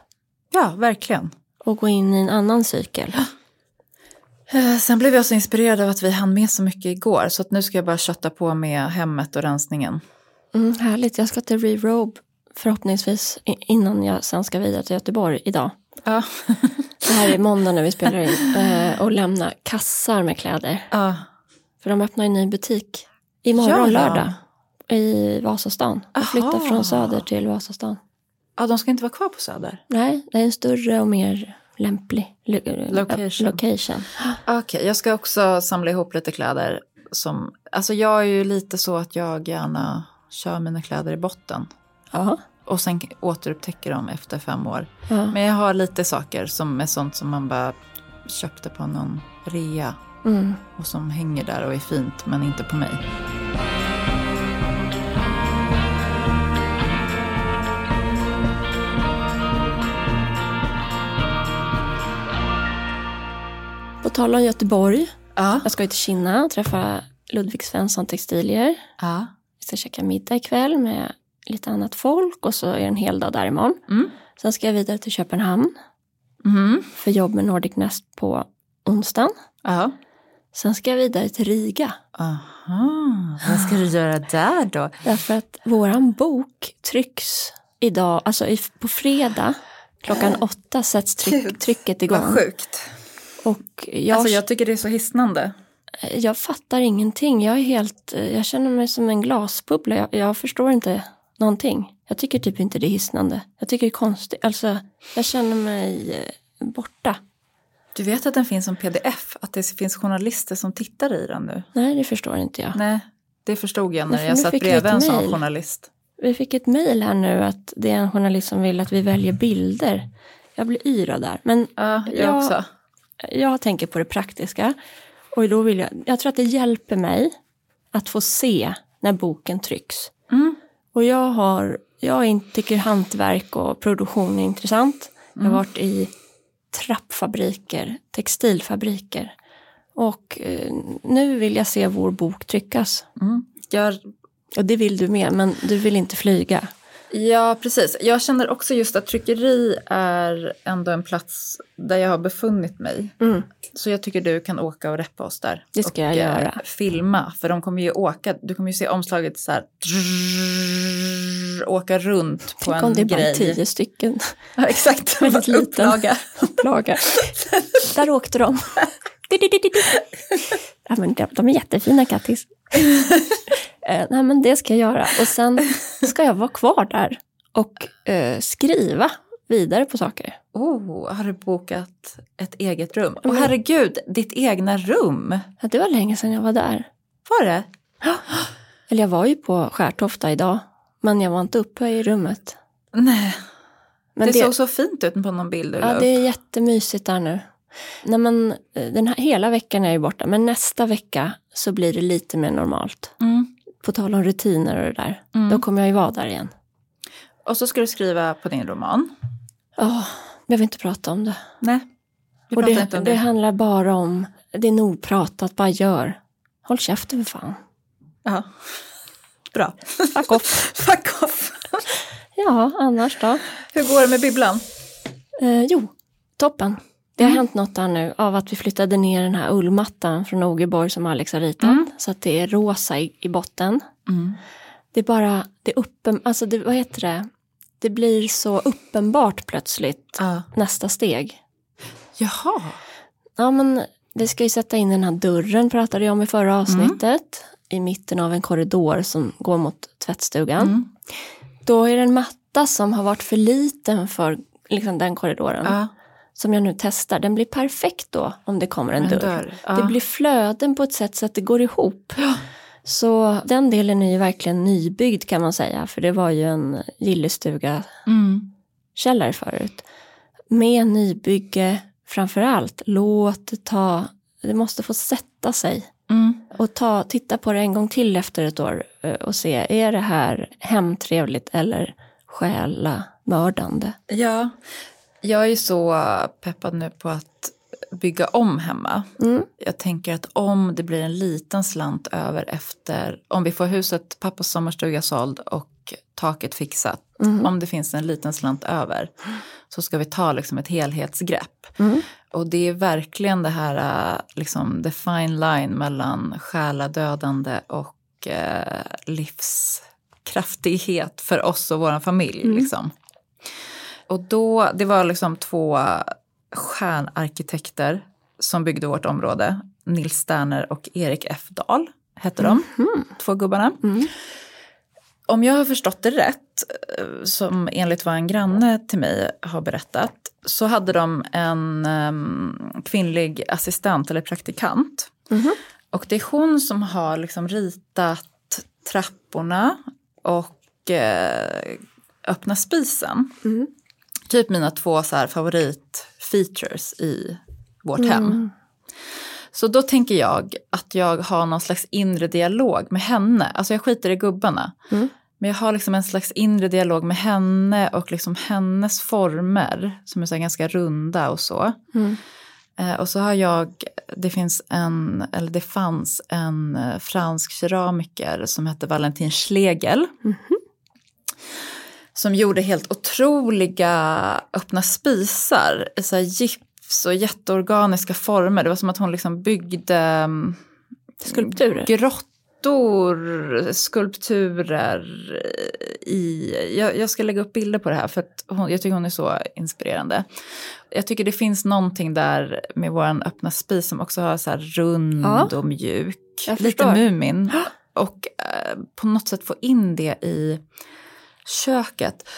Ja, verkligen.
och går in i en annan cykel.
Eh, Sen blev jag så inspirerad av att vi hann med så mycket igår så att nu ska jag bara kötta på med hemmet och rensningen.
Mm, härligt, jag ska till Rerobe förhoppningsvis i- innan jag sen ska vidare till Göteborg idag.
Ja.
Det här är måndag när vi spelar in eh, och lämna kassar med kläder.
ja.
För de öppnar ju en ny butik imorgon
Ja.
lördag i Vasastan. De flyttar
Aha.
från Söder till Vasastan.
ja, de ska inte vara kvar på Söder.
Nej, det är en större och mer lämplig lo-
Location.
location.
Okej, jag ska också samla ihop lite kläder. Som, alltså jag är ju lite så att jag gärna kör mina kläder i botten.
Ja.
Och sen återupptäcker dem efter fem år.
ja.
Men jag har lite saker som är sånt som man bara köpte på någon rea.
Mm.
Och som hänger där och är fint men inte på mig.
På tal om Göteborg,
Ja.
jag ska ju till Kina och träffa Ludvig Svensson Textilier.
Ja.
Vi ska käka middag ikväll med lite annat folk och så är det en hel dag där imorgon.
Mm.
Sen ska jag vidare till Köpenhamn
Mhm.
för jobb med Nordic Nest på onsdagen.
Ja.
Sen ska jag vidare till Riga
Aha, vad ska du göra där då?
Därför att våran bok trycks idag, alltså i- på fredag klockan åtta sätts tryck,
Äh. Gud,
trycket igång.
sjukt.
Och jag,
Alltså
jag...
jag tycker det är så hisnande.
fattar ingenting. Jag är helt, eh, jag känner mig som en glasbubbla. Jag, jag förstår inte någonting. Jag tycker typ inte det är hisnande. Jag tycker det är konstigt. Alltså, jag känner mig eh, borta.
Du vet att den finns som pdf, att det finns journalister som tittar i den nu?
Nej, det förstår inte jag.
Nej, det förstod jag
Nej,
när
för
jag
nu
satt
fick vi
bredvid
ett
en sån
mejl.
journalist.
Vi fick ett mejl här nu att det är en journalist som vill att vi väljer bilder. Jag blir yra där. Men
Ja, jag
Ja.
också.
jag tänker på det praktiska. Och då vill jag, jag tror att det hjälper mig att få se när boken trycks.
Mm.
Och jag har, jag in- tycker hantverk och produktion är intressant. Jag
Mm.
har varit i trappfabriker, textilfabriker. Och eh, nu vill jag se vår bok tryckas.
Mm. Jag,
Och det vill du med, men du vill inte flyga.
ja, precis. Jag känner också just att tryckeri är ändå en plats där jag har befunnit mig.
Mm.
Så jag tycker du kan åka och reppa oss där.
Det ska
och,
jag göra.
eh, filma, för de kommer ju åka. Du kommer ju se omslaget så här... åka runt på
Tänk om
en
det är bara
grej.
tio stycken
Ja, exakt.
Väldigt liten.
Upplaga.
upplaga. Där åkte de. Du, du, du, du, du. Ja, men de, de är jättefina, Kattis. Eh, Nej, men det ska jag göra. Och sen ska jag vara kvar där och eh, skriva vidare på saker.
Oh, har du bokat ett eget rum? Och
Mm.
herregud, ditt egna rum!
Ja, det var länge sedan jag var där.
Var det?
Eller jag var ju på Skärtofta idag, men jag var inte uppe i rummet.
Nej,
Men
det, såg så fint ut på någon bild du la
Ja,
upp.
det är jättemysigt där nu. Nej, men, eh, den här, hela veckan är jag ju borta, men nästa vecka så blir det lite mer normalt.
Mm,
På tal om rutiner och det där,
mm.
då kommer jag ju vara där igen.
Och så ska du skriva på din roman.
Ja, jag vill inte prata om det.
Nej, vi
Och
pratar
det,
inte om
det
det.
handlar bara om, det är nog pratat, bara gör. Håll käften för fan.
Ja. Bra.
Fuck off.
Fuck off!
ja, annars då?
Hur går det med bibblan?
Eh, jo, toppen. Det har
Mm.
hänt något där nu av att vi flyttade ner den här ullmattan från Ogeborg som Alex har ritat.
Mm.
Så att det är rosa i, i botten.
Mm.
Det är bara, det är uppen, alltså det, vad heter det? Det blir så uppenbart plötsligt
Ja.
nästa steg.
Jaha.
Ja men vi ska ju sätta in den här dörren pratade jag om i
Mm.
förra avsnittet. I mitten av en korridor som går mot tvättstugan.
Mm.
Då är det en matta matta som har varit för liten för liksom, den korridoren
Ja,
som jag nu testar, den blir perfekt då om det kommer en,
en
dörr.
dörr. Ja.
Det blir flöden på ett sätt så att det går ihop.
Ja.
Så den delen är ju verkligen nybyggd kan man säga, för det var ju en gillestuga
Mm.
källare förut. Med nybygge framför allt, låt det ta, det måste få sätta sig.
Mm.
Och ta, titta på det en gång till efter ett år eh, och se, är det här hemtrevligt eller själamördande?
ja. Jag är ju så peppad nu på att bygga om hemma.
Mm.
Jag tänker att om det blir en liten slant över efter, om vi får huset, pappas sommarstuga såld och taket fixat,
Mm.
om det finns en liten slant över så ska vi ta liksom ett helhetsgrepp.
Mm.
Och det är verkligen det här, eh, liksom the fine line mellan själadödande och eh, livskraftighet för oss och vår familj.
Mm.
Liksom. Och då, det var liksom två stjärnarkitekter som byggde vårt område. Nils Sterner och Erik F. Dahl hette de, två gubbarna.
Mm.
Om jag har förstått det rätt, eh, som enligt vad en granne till mig har berättat, så hade de en em, kvinnlig assistent eller praktikant.
Mhm.
Och det är hon som har liksom ritat trapporna och eh, öppna spisen.
Mm.
Typ mina två så här favoritfeatures i vårt hem.
Mm.
Så då tänker jag att jag har någon slags inre dialog med henne. Alltså jag skiter i gubbarna.
Mm.
Men jag har liksom en slags inre dialog med henne och liksom hennes former som är så här ganska runda och så.
Mm.
Eh, och så har jag, det finns en, eller det fanns en eh, fransk keramiker som hette Valentin Schlegel. Som gjorde helt otroliga öppna spisar i så här gips och jätteorganiska former. Det var som att hon liksom byggde mm,
Skulpturer.
grottor, skulpturer eh, i... Jag, jag ska lägga upp bilder på det här för att hon, jag tycker hon är så inspirerande. Jag tycker det finns någonting där med vår öppna spis som också har så här rund
Ja.
och mjuk,
Jag
lite
förstår.
Mumin. Och eh, på något sätt få in det i köket.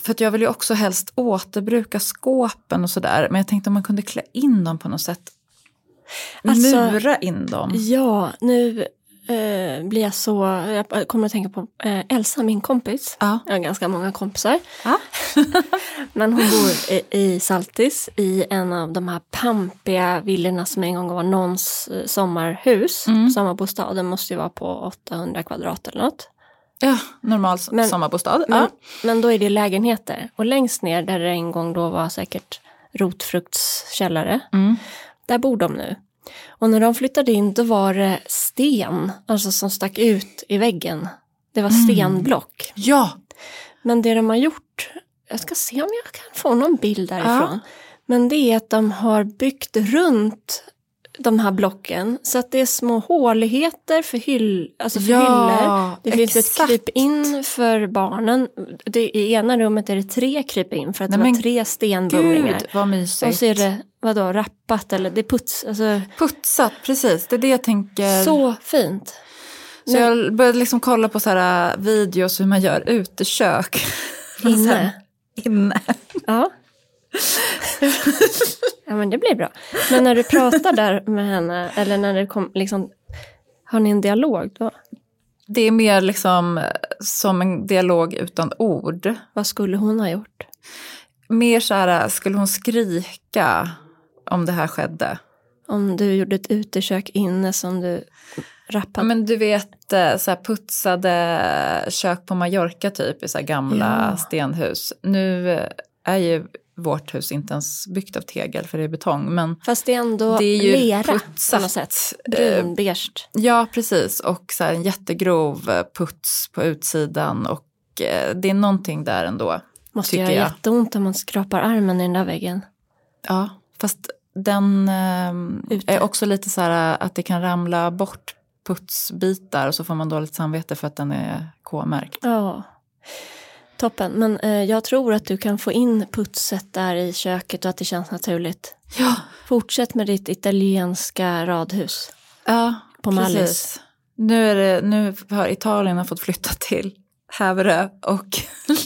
För att jag vill ju också helst återbruka skåpen och sådär. Men jag tänkte om man kunde klä in dem på något sätt.
Alltså-
Mura in dem.
Ja, nu eh, blir jag så... Jag kommer att tänka på eh, Elsa, min kompis.
Ja.
Jag har ganska många kompisar.
Ja.
Men hon bor i, i Saltis i en av de här pampiga villorna som en gång var någons eh, sommarhus.
Mm.
Sommarbostad. Och Den måste ju vara på 800 kvadrat eller något.
Ja, normal s-
Men-
sommarbostad.
Men,
ja.
men då är det lägenheter. Och längst ner där det en gång då var säkert rotfruktskällare.
Mm.
Där bor de nu. Och när de flyttade in då var det sten, alltså som stack ut i väggen. Det var
Mm.
stenblock.
ja.
Men det de har gjort, jag ska se om jag kan få någon bild därifrån. Men det är att de har byggt runt de här blocken så att det är små håligheter för, hyll, alltså för hyllor. Det finns
exakt.
ett krypin för barnen. Det, I ena rummet är det tre krypin för att
Nej,
det var
men
tre stenbumlingar.
Gud, vad
Och
mysigt.
så är det, vadå, rappat eller det är puts, alltså
Putsat, precis. Det är det jag tänker. Så,
så fint.
jag började liksom kolla på så här äh, videos hur man gör utekök. Men sen-
Inne.
Inne.
Ja. ja men det blir bra. Men när du pratar där med henne, eller när det kom, liksom, har ni en dialog då?
Det är mer liksom äh, som en dialog utan ord.
Vad skulle hon ha gjort?
Mer så här, äh, skulle hon skrika om det här skedde?
Om du gjorde ett utekök inne som du
Ja,
rappade?
men du vet eh, så här putsade kök på Mallorca typ i så här gamla
Ja.
stenhus. Nu eh, är ju vårt hus inte ens byggt av tegel för det är betong. Men
Fast det är ändå
det är ju
lera på något sätt.
putsat. eh,
Brunbeige.
Ja, precis. Och så här en jättegrov eh, puts på utsidan. Och eh, det är någonting där ändå.
Måste
tycker
göra
jag.
jätteont om man skrapar armen i den där väggen.
Ja, fast den ehm,
Ute.
är också lite så här eh, att det kan ramla bort putsbitar och så får man dåligt samvete för att den är K-märkt.
Ja. Toppen, men eh, jag tror att du kan få in putset där i köket och att det känns naturligt.
Ja,
Fortsätt med ditt italienska radhus.
Ja,
På Mallis.
precis. Nu, är det, nu har Italien har fått flytta till Häverö och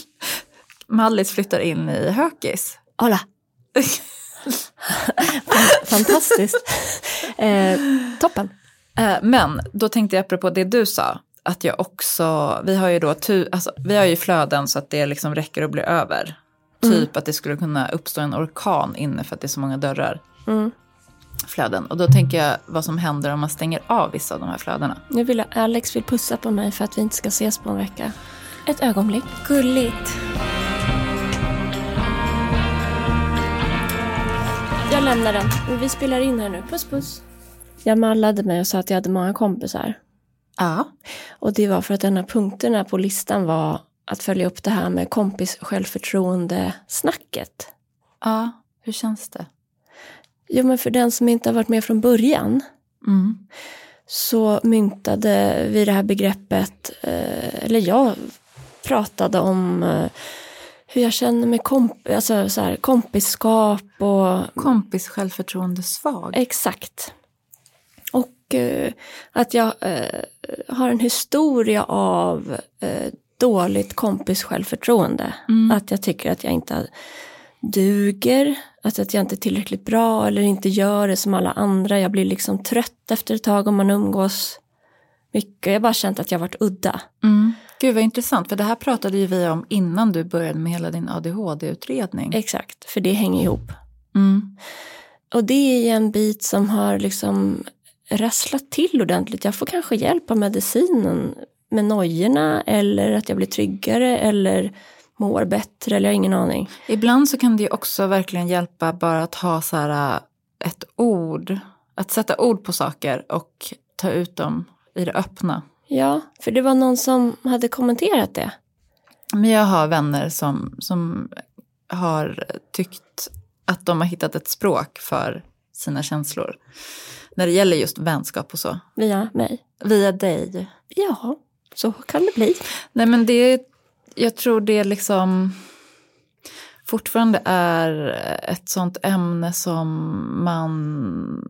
Mallis flyttar in i Hökis.
Hola! Fantastiskt. Eh, toppen.
Eh, Men då tänkte jag apropå det du sa, att jag också, vi har ju då tu, alltså, vi har ju flöden så att det liksom räcker att bli över.
Mm.
Typ att det skulle kunna uppstå en orkan inne för att det är så många dörrar,
Mm.
flöden. Och då tänker jag vad som händer om man stänger av vissa av de här flödena.
Nu vill jag, Alex vill pussa på mig för att vi inte ska ses på en vecka. Ett ögonblick. Gulligt. Jag lämnar den. Men Vi spelar in här nu. Puss puss. Jag mallade mig och sa att jag hade många kompisar.
Ja.
Och det var för att en av punkterna på listan var att följa upp det här med kompis självförtroende snacket.
Ja, hur känns det?
Jo men för den som inte har varit med från början
Mm.
så myntade vi det här begreppet, eh, eller jag pratade om eh, hur jag känner mig komp alltså så här, kompisskap och
Kompis självförtroende svag.
exakt. Och eh, att jag eh, har en historia av eh, dåligt kompis självförtroende.
Mm.
Att jag tycker att jag inte duger, att, att jag inte är tillräckligt bra eller inte gör det som alla andra. Jag blir liksom trött efter ett tag om man umgås mycket. Jag har bara känt att jag varit udda.
Mm. Gud vad intressant, för det här pratade ju vi om innan du började med hela din ADHD-utredning.
Exakt, för det hänger ihop.
Mm.
Och det är ju en bit som har liksom rasslat till ordentligt. Jag får kanske hjälp av medicinen med nojorna eller att jag blir tryggare eller mår bättre eller jag har ingen aning.
Ibland så kan det ju också verkligen hjälpa bara att ha så här äh, ett ord, att sätta ord på saker och ta ut dem i det öppna.
Ja, för det var någon som hade kommenterat det.
Men jag har vänner som, som har tyckt att de har hittat ett språk för sina känslor. När det gäller just vänskap och så.
via mig.
Via dig.
Ja, så kan det bli.
Nej men det, jag tror det liksom fortfarande är ett sånt ämne som man...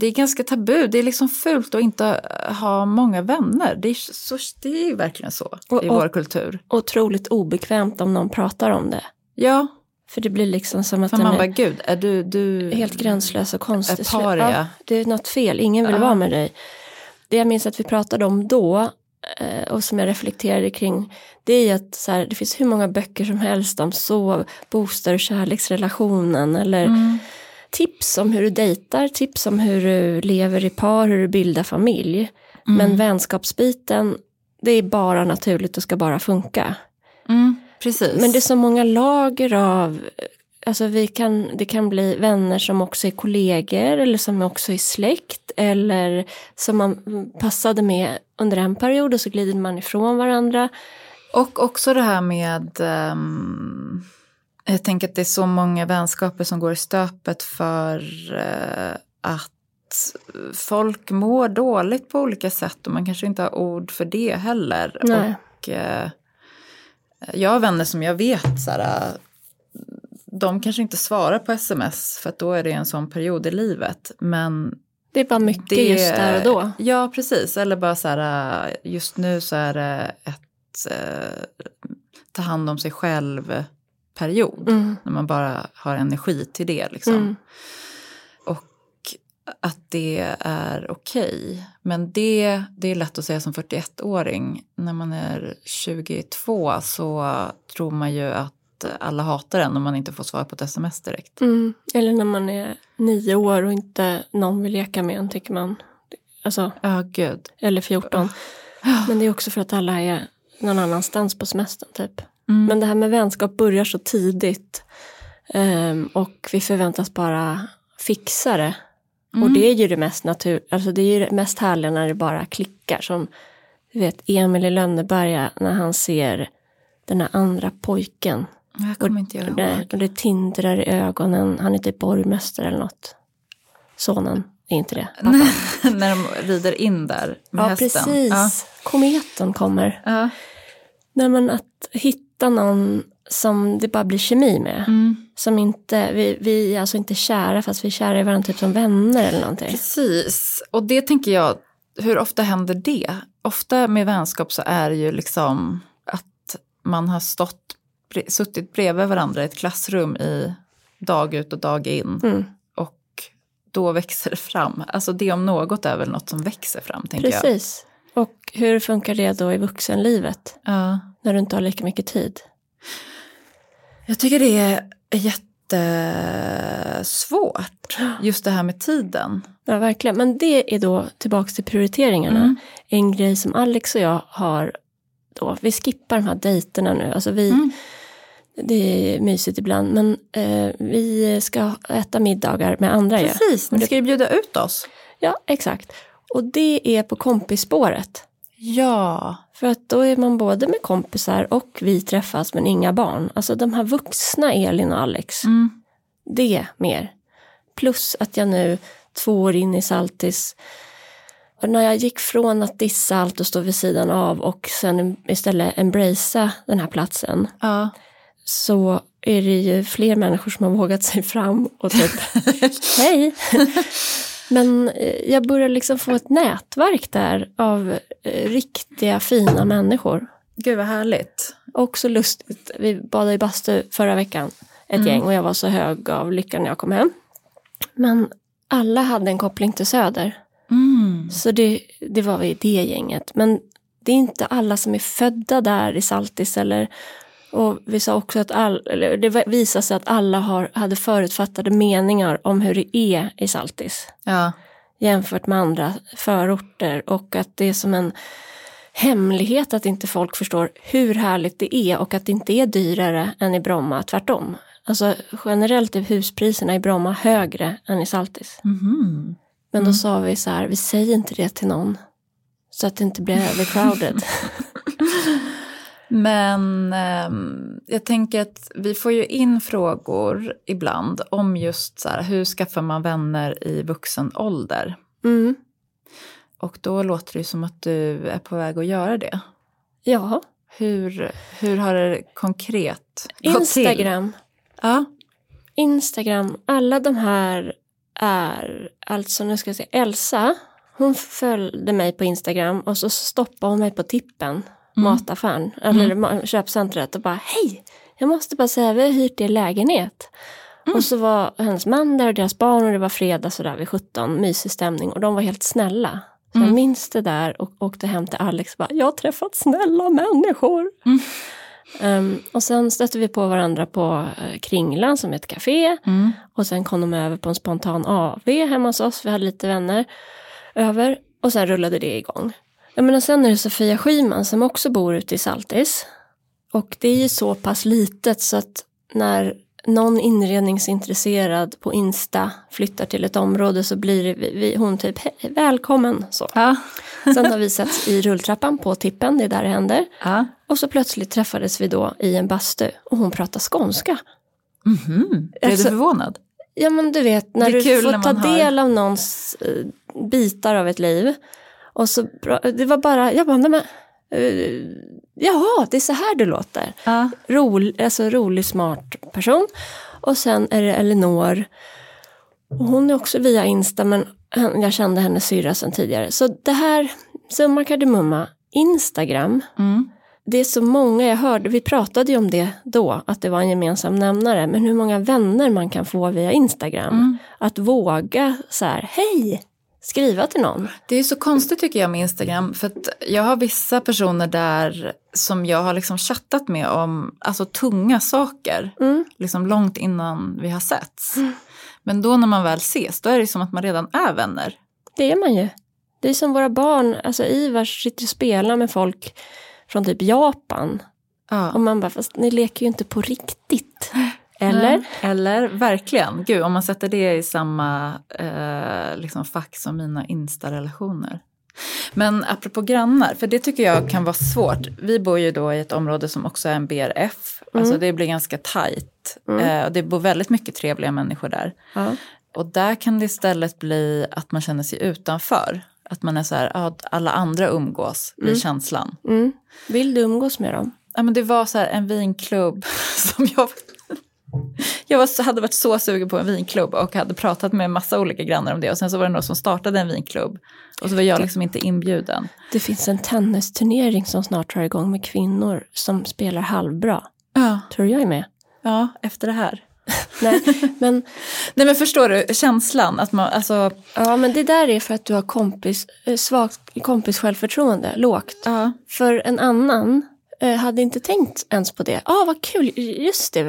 Det är ganska tabu, det är liksom fult att inte ha många vänner. Det är, så, det är ju verkligen så
Och-
i
och-
vår kultur.
Otroligt obekvämt om någon pratar om det.
Ja,
För det blir liksom som att
för
den
man
är
bara gud, är du... du
helt gränslös och konstig.
Ett paria.
Ja, det är något fel, ingen vill
Ja.
vara med dig. Det jag minns att vi pratade om då eh, och som jag reflekterade kring det är ju att så här, det finns hur många böcker som helst om sov, bostad och kärleksrelationen eller
Mm.
tips om hur du dejtar, tips om hur du lever i par, hur du bildar familj.
Mm.
Men vänskapsbiten, det är bara naturligt och ska bara funka.
Mm, precis.
Men det är så många lager av, alltså vi kan, det kan bli vänner som också är kollegor eller som också är släkt eller som man passade med under en period och så glider man ifrån varandra.
Och också det här med... ehm, jag tänker att det är så många vänskaper som går i stöpet för eh, att folk mår dåligt på olika sätt och man kanske inte har ord för det heller.
Nej.
Och, eh, jag har vänner som jag vet så här, eh, de kanske inte svarar på sms för att då är det en sån period i livet. Men
Det är bara mycket just där och då.
Ja, precis. Eller bara så här, äh, just nu så är det ett eh, ta hand om sig själv-period.
Mm.
När man bara har energi till det. Liksom.
Mm.
Och att det är okej. Men det, det är lätt att säga som 41-åring. När man är 22 så tror man ju att alla hatar en om man inte får svar på ett sms direkt.
Mm. Eller när man är nio år och inte någon vill leka med en tycker man. Alltså,
Ja, gud.
eller 14. Men det är också för att alla är någon annanstans på semestern typ.
Mm.
Men det här med vänskap börjar så tidigt ehm, och vi förväntas bara fixa det. Och
Mm.
det är ju det mest natur, alltså det är ju det mest härliga när det bara klickar. Som du vet Emil i Lönneberga när han ser den här andra pojken.
Jag kommer inte göra
Det, och det tindrar i ögonen, han är typ borgmästare eller något. Sonen är inte det. pappan.
när de rider in där med
Ja
hästen.
precis,
Ja.
kometen kommer.
Ja.
Nej men att hitta någon som det bara blir kemi med.
Mm.
Som inte, vi, vi är alltså inte kära fast vi är kära i varandra typ som vänner eller någonting.
Precis, och det tänker jag, hur ofta händer det? Ofta med vänskap så är det ju liksom att man har stått, bre- suttit bredvid varandra i ett klassrum i dag ut och dag in.
Mm.
Och då växer det fram. Alltså det om något är väl något som växer fram, tänker jag.
Precis. Och hur funkar det då i vuxenlivet
Ja.
när du inte har lika mycket tid?
Jag tycker det är jättesvårt, just det här med tiden.
Ja, verkligen. Men det är då tillbaks till prioriteringarna.
Mm.
En grej som Alex och jag har då, vi skippar de här dejterna nu. Alltså vi,
Mm.
Det är mysigt ibland, men eh, vi ska äta middagar med andra ju.
Precis, ni ska ju bjuda ut oss.
Ja, exakt. Och det är på kompisspåret.
Ja,
För att då är man både med kompisar och vi träffas men inga barn. Alltså de här vuxna Elin och Alex,
mm.
det mer. Plus att jag nu två år in i Saltis, och när jag gick från att dissa allt och stå vid sidan av och sen istället embracea den här platsen
ja.
så är det ju fler människor som har vågat sig fram och typ hej. Men eh, jag börjar liksom få ett nätverk där av eh, riktiga fina människor.
Gud vad härligt.
Och så lustigt, vi badade i bastu förra veckan, ett
Mm.
gäng, och jag var så hög av lyckan när jag kom hem. Men alla hade en koppling till Söder,
Mm.
så det, det var vi det gänget. Men det är inte alla som är födda där i Saltis eller och vi sa också att all, eller det visade sig att alla har, hade förutfattade meningar om hur det är i Saltis
Ja.
jämfört med andra förorter och att det är som en hemlighet att inte folk förstår hur härligt det är och att det inte är dyrare än i Bromma, tvärtom. Alltså generellt är huspriserna i Bromma högre än i Saltis.
Mhm.
Men då sa vi så här, vi säger inte det till någon så att det inte blir övercrowded.
Men ehm, jag tänker att vi får ju in frågor ibland om just så här, hur skaffar man vänner i vuxen ålder?
Mm.
Och då låter det ju som att du är på väg att göra det.
Ja,
Hur, hur har det konkret gått till?
Instagram.
Ja.
Instagram, alla de här är, alltså nu ska jag säga, Elsa, hon följde mig på Instagram och så stoppade hon mig på tippen, mataffären, eller ma- köpcentret och bara hej, jag måste bara säga, vi har hyrt er lägenhet. Och så var hennes man där och deras barn och det var fredag sådär vid 17, mysig stämning och de var helt snälla. Så jag minns det där och åkte hem till Alex och bara, jag har träffat snälla människor. Ehm, och sen stötte vi på varandra på eh, Kringlan som är ett café.
Mm.
Och sen kom de över på en spontan AV hemma hos oss. Vi hade lite vänner över. Och sen rullade det igång. Jag menar, sen är det Sofia Schyman som också bor ute i Saltis. Och det är ju så pass litet så att när någon inredningsintresserad på Insta flyttar till ett område så blir det, vi, vi, hon typ "Hej, välkommen. Så.
Ja.
Sen har vi sett i rulltrappan på tippen, det är där det händer.
ja.
Och så plötsligt träffades vi då i en bastu och hon pratade skånska.
Mhm. Blev
Alltså-
du förvånad?
Ja men du vet när
Det
du
är kul
får
när man
ta
hör.
del av någons eh, bitar av ett liv. Och så, bra- det var bara, jag bara, nej men, eh, jaha det är så här du låter.
Ja.
Rol, alltså rolig, smart person. Och sen är det Elinor. Och hon är också via Insta men hen- jag kände hennes syrra sedan tidigare. Så det här, summa kardemumma, Instagram
Mm.
det är så många jag hörde, vi pratade ju om det då, att det var en gemensam nämnare, men hur många vänner man kan få via Instagram.
Mm.
Att våga så här, hej, skriva till någon.
Det är så konstigt tycker jag med Instagram för att jag har vissa personer där som jag har liksom chattat med om alltså tunga saker
Mm.
liksom långt innan vi har setts. Men då när man väl ses då är det som att man redan är vänner.
Det är man ju. Det är som våra barn, alltså Ivars sitter och spelar med folk från typ Japan. Och
Ja.
man bara, fast ni leker ju inte på riktigt. Eller?
Eller verkligen, gud om man sätter det i samma eh, liksom fack som mina instarelationer. Men apropå grannar, för det tycker jag kan vara svårt. Vi bor ju då i ett område som också är en BRF, alltså
Mm.
det blir ganska tajt.
Mm.
Eh, och det bor väldigt mycket trevliga människor där.
Ja.
Och där kan det istället bli att man känner sig utanför. Att man är så här, "Ja, att alla andra umgås, blir
Mm.
känslan.
Mm. Vill du umgås med dem?
Ja, men det var så här en vinklubb som jag... jag var, så- hade varit så sugen på en vinklubb och hade pratat med massa olika grannar om det och sen så var det någon som startade en vinklubb och så var jag liksom inte inbjuden.
Det finns en tennisturnering som snart drar igång med kvinnor som spelar halvbra.
Ja,
Tror jag är med?
ja efter det här.
Nej, men,
Nej men förstår du känslan att man, alltså,
ja, men det där är för att du har kompis, eh, svagt kompis självförtroende, lågt.
ja.
För en annan eh, hade inte tänkt ens på det. Ja, ah, vad kul, just det,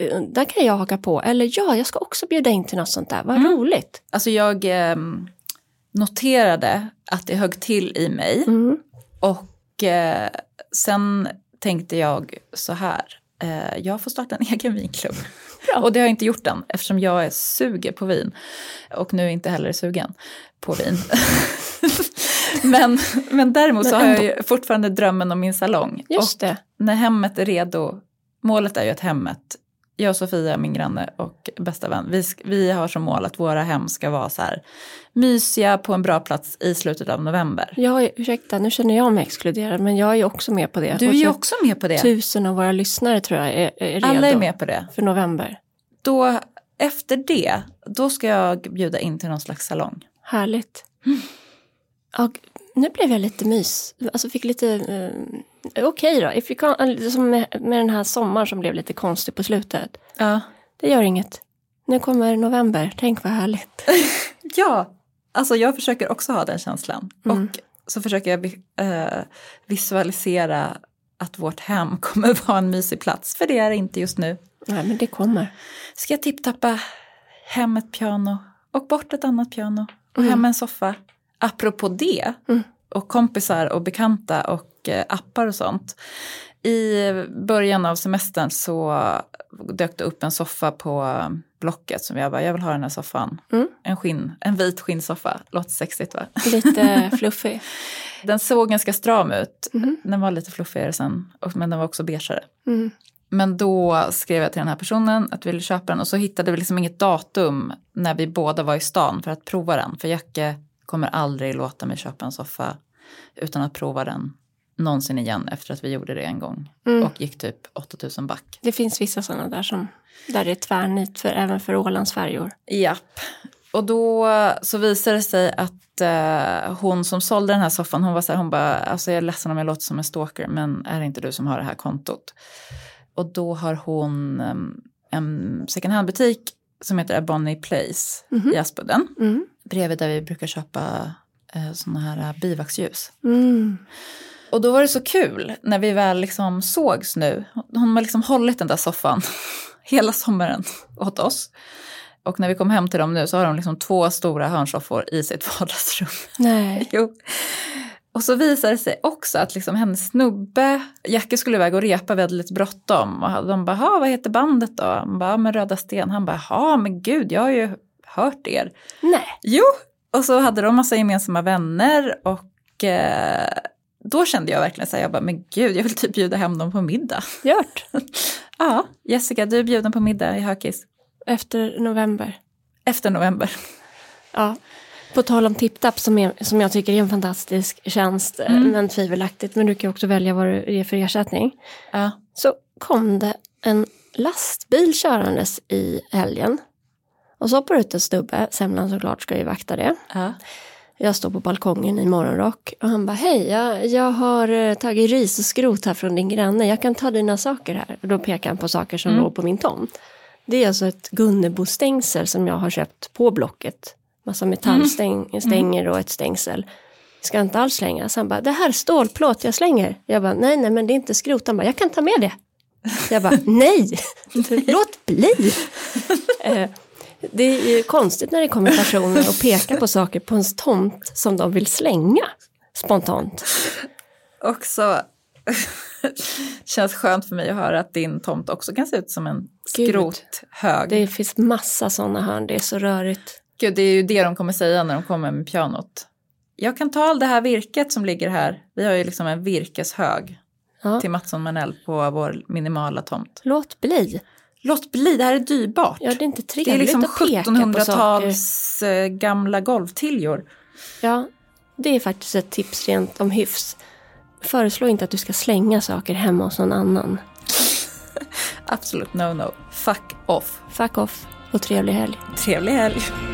eh, där kan jag haka på. Eller ja, jag ska också bjuda in till något sånt där, vad roligt.
Alltså jag ehm, noterade att det högg till i mig
Mm.
och eh, sen tänkte jag så här, eh, jag får starta en egen vinklubb.
Bra.
Och det har jag inte gjort än eftersom jag är sugen på vin och nu inte heller sugen på vin. men, men däremot så
Men
har jag
ändå.
ju fortfarande drömmen om min salong.
Just
och
det.
när hemmet är redo, målet är ju att hemmet, jag och Sofia, min granne och bästa vän, vi, sk- vi har som mål att våra hem ska vara så här mysiga på en bra plats i slutet av november.
Jag, är- ursäkta, nu känner jag mig exkluderad, men jag är ju också med på det.
Du
Och
är ju
så
också med på det.
Tusen av våra lyssnare tror jag är, är redo
Alla är med på det.
för november.
Då, efter det, då ska jag bjuda in till någon slags salong.
Härligt.
Mm.
Och nu blev jag lite mys, alltså fick lite, eh, okej då, if you can, som med, med den här sommaren som blev lite konstig på slutet.
Ja.
Det gör inget. Nu kommer november, tänk vad härligt.
Ja, alltså jag försöker också ha den känslan.
Mm.
Och så försöker jag vi- eh, visualisera att vårt hem kommer vara en mysig plats, för det är det inte just nu.
Nej men det kommer.
Ska jag tipptappa hem ett piano och bort ett annat piano och hem en soffa. Apropå det,
Mm.
och kompisar och bekanta och eh, appar och sånt. I början av semestern så dök det upp en soffa på eh, Blocket som jag bara, jag vill ha den här soffan.
Mm.
En, skinn, en vit skinnsoffa, låter sexigt va?
Lite fluffig.
Den såg ganska stram ut,
Mhm.
den var lite fluffigare sen, och- men den var också beigeare.
Mm.
Men då skrev jag till den här personen att vi ville köpa den och så hittade vi liksom inget datum när vi båda var i stan för att prova den. För Jacke kommer aldrig låta mig köpa en soffa utan att prova den någonsin igen efter att vi gjorde det en gång
Mm.
och gick typ 8000 back.
Det finns vissa sådana där som, där det är tvärnit för, även för Ålandsfärjor.
Japp. Och då så visade det sig att eh, hon som sålde den här soffan, hon var så här, hon bara, alltså jag är ledsen om jag låter som en stalker, men är det inte du som har det här kontot? Och då har hon em, en second hand-butik som heter Bonnie Place
Mhm.
i Aspudden,
Mm.
bredvid där vi brukar köpa eh, såna här eh, bivaxljus.
Mm.
Och då var det så kul när vi väl liksom sågs nu. Hon har liksom hållit den där soffan hela sommaren åt oss. Och när vi kom hem till dem nu så har de liksom två stora hörnsoffor i sitt vardagsrum.
Nej.
Jo. Och så visade det sig också att liksom hennes snubbe, Jacke skulle iväg och repa, vi hade lite bråttom. Och de bara, "Ha, vad heter bandet då? Han bara, "Ja, men Röda Sten. Han bara, ja men gud, jag har ju hört er.
Nej.
Jo, och så hade de massa gemensamma vänner och eh, då kände jag verkligen så här, jag bara, men gud, jag vill typ bjuda hem dem på middag.
Gjort.
Ja, Jessica, du är bjuden på middag i Hökis
Efter november.
efter november.
Ja. På tal om TipTap som, är, som jag tycker är en fantastisk tjänst, eh,
Mm.
men tvivelaktigt, men du kan ju också välja vad du ger för ersättning.
Ja,
Så kom det en lastbil körandes i helgen. Och så hoppar ut en snubbe, Semlan såklart ska ju vakta det.
ja.
Jag står på balkongen i morgonrock och han bara hej, jag, jag har eh, tagit ris och skrot här från din granne, jag kan ta dina saker här. Och då pekar han på saker som
Mm.
låg på min tomt. Det är alltså ett Gunnebostängsel som jag har köpt på Blocket. Massa metallstänger och ett stängsel. Ska inte alls slängas. Han bara, det här är stålplåt, jag slänger. Jag bara, nej, nej, men det är inte skrot. Han bara, jag kan ta med det. Jag bara, nej, låt bli. Eh, det är ju konstigt när det kommer personer och pekar på saker på ens tomt som de vill slänga spontant.
Och så känns skönt för mig att höra att din tomt också kan se ut som en
Gud.
skrothög.
Det finns massa sådana hörn, det är så rörigt.
Gud, det är ju det de kommer säga när de kommer med pianot. Jag kan ta all det här virket som ligger här. Vi har ju liksom en virkeshög
Ja.
till Mattsson Manell på vår minimala tomt.
Låt bli.
Låt bli, det här är dyrbart.
Ja, det är inte trevligt
det är liksom
att peka på saker.
1700-tals eh, gamla golvtiljor.
Ja, det är faktiskt ett tips rent om hyfs. Föreslå inte att du ska slänga saker hemma hos någon annan. absolut no-no. Fuck off.
Fuck off och trevlig helg.
Trevlig helg.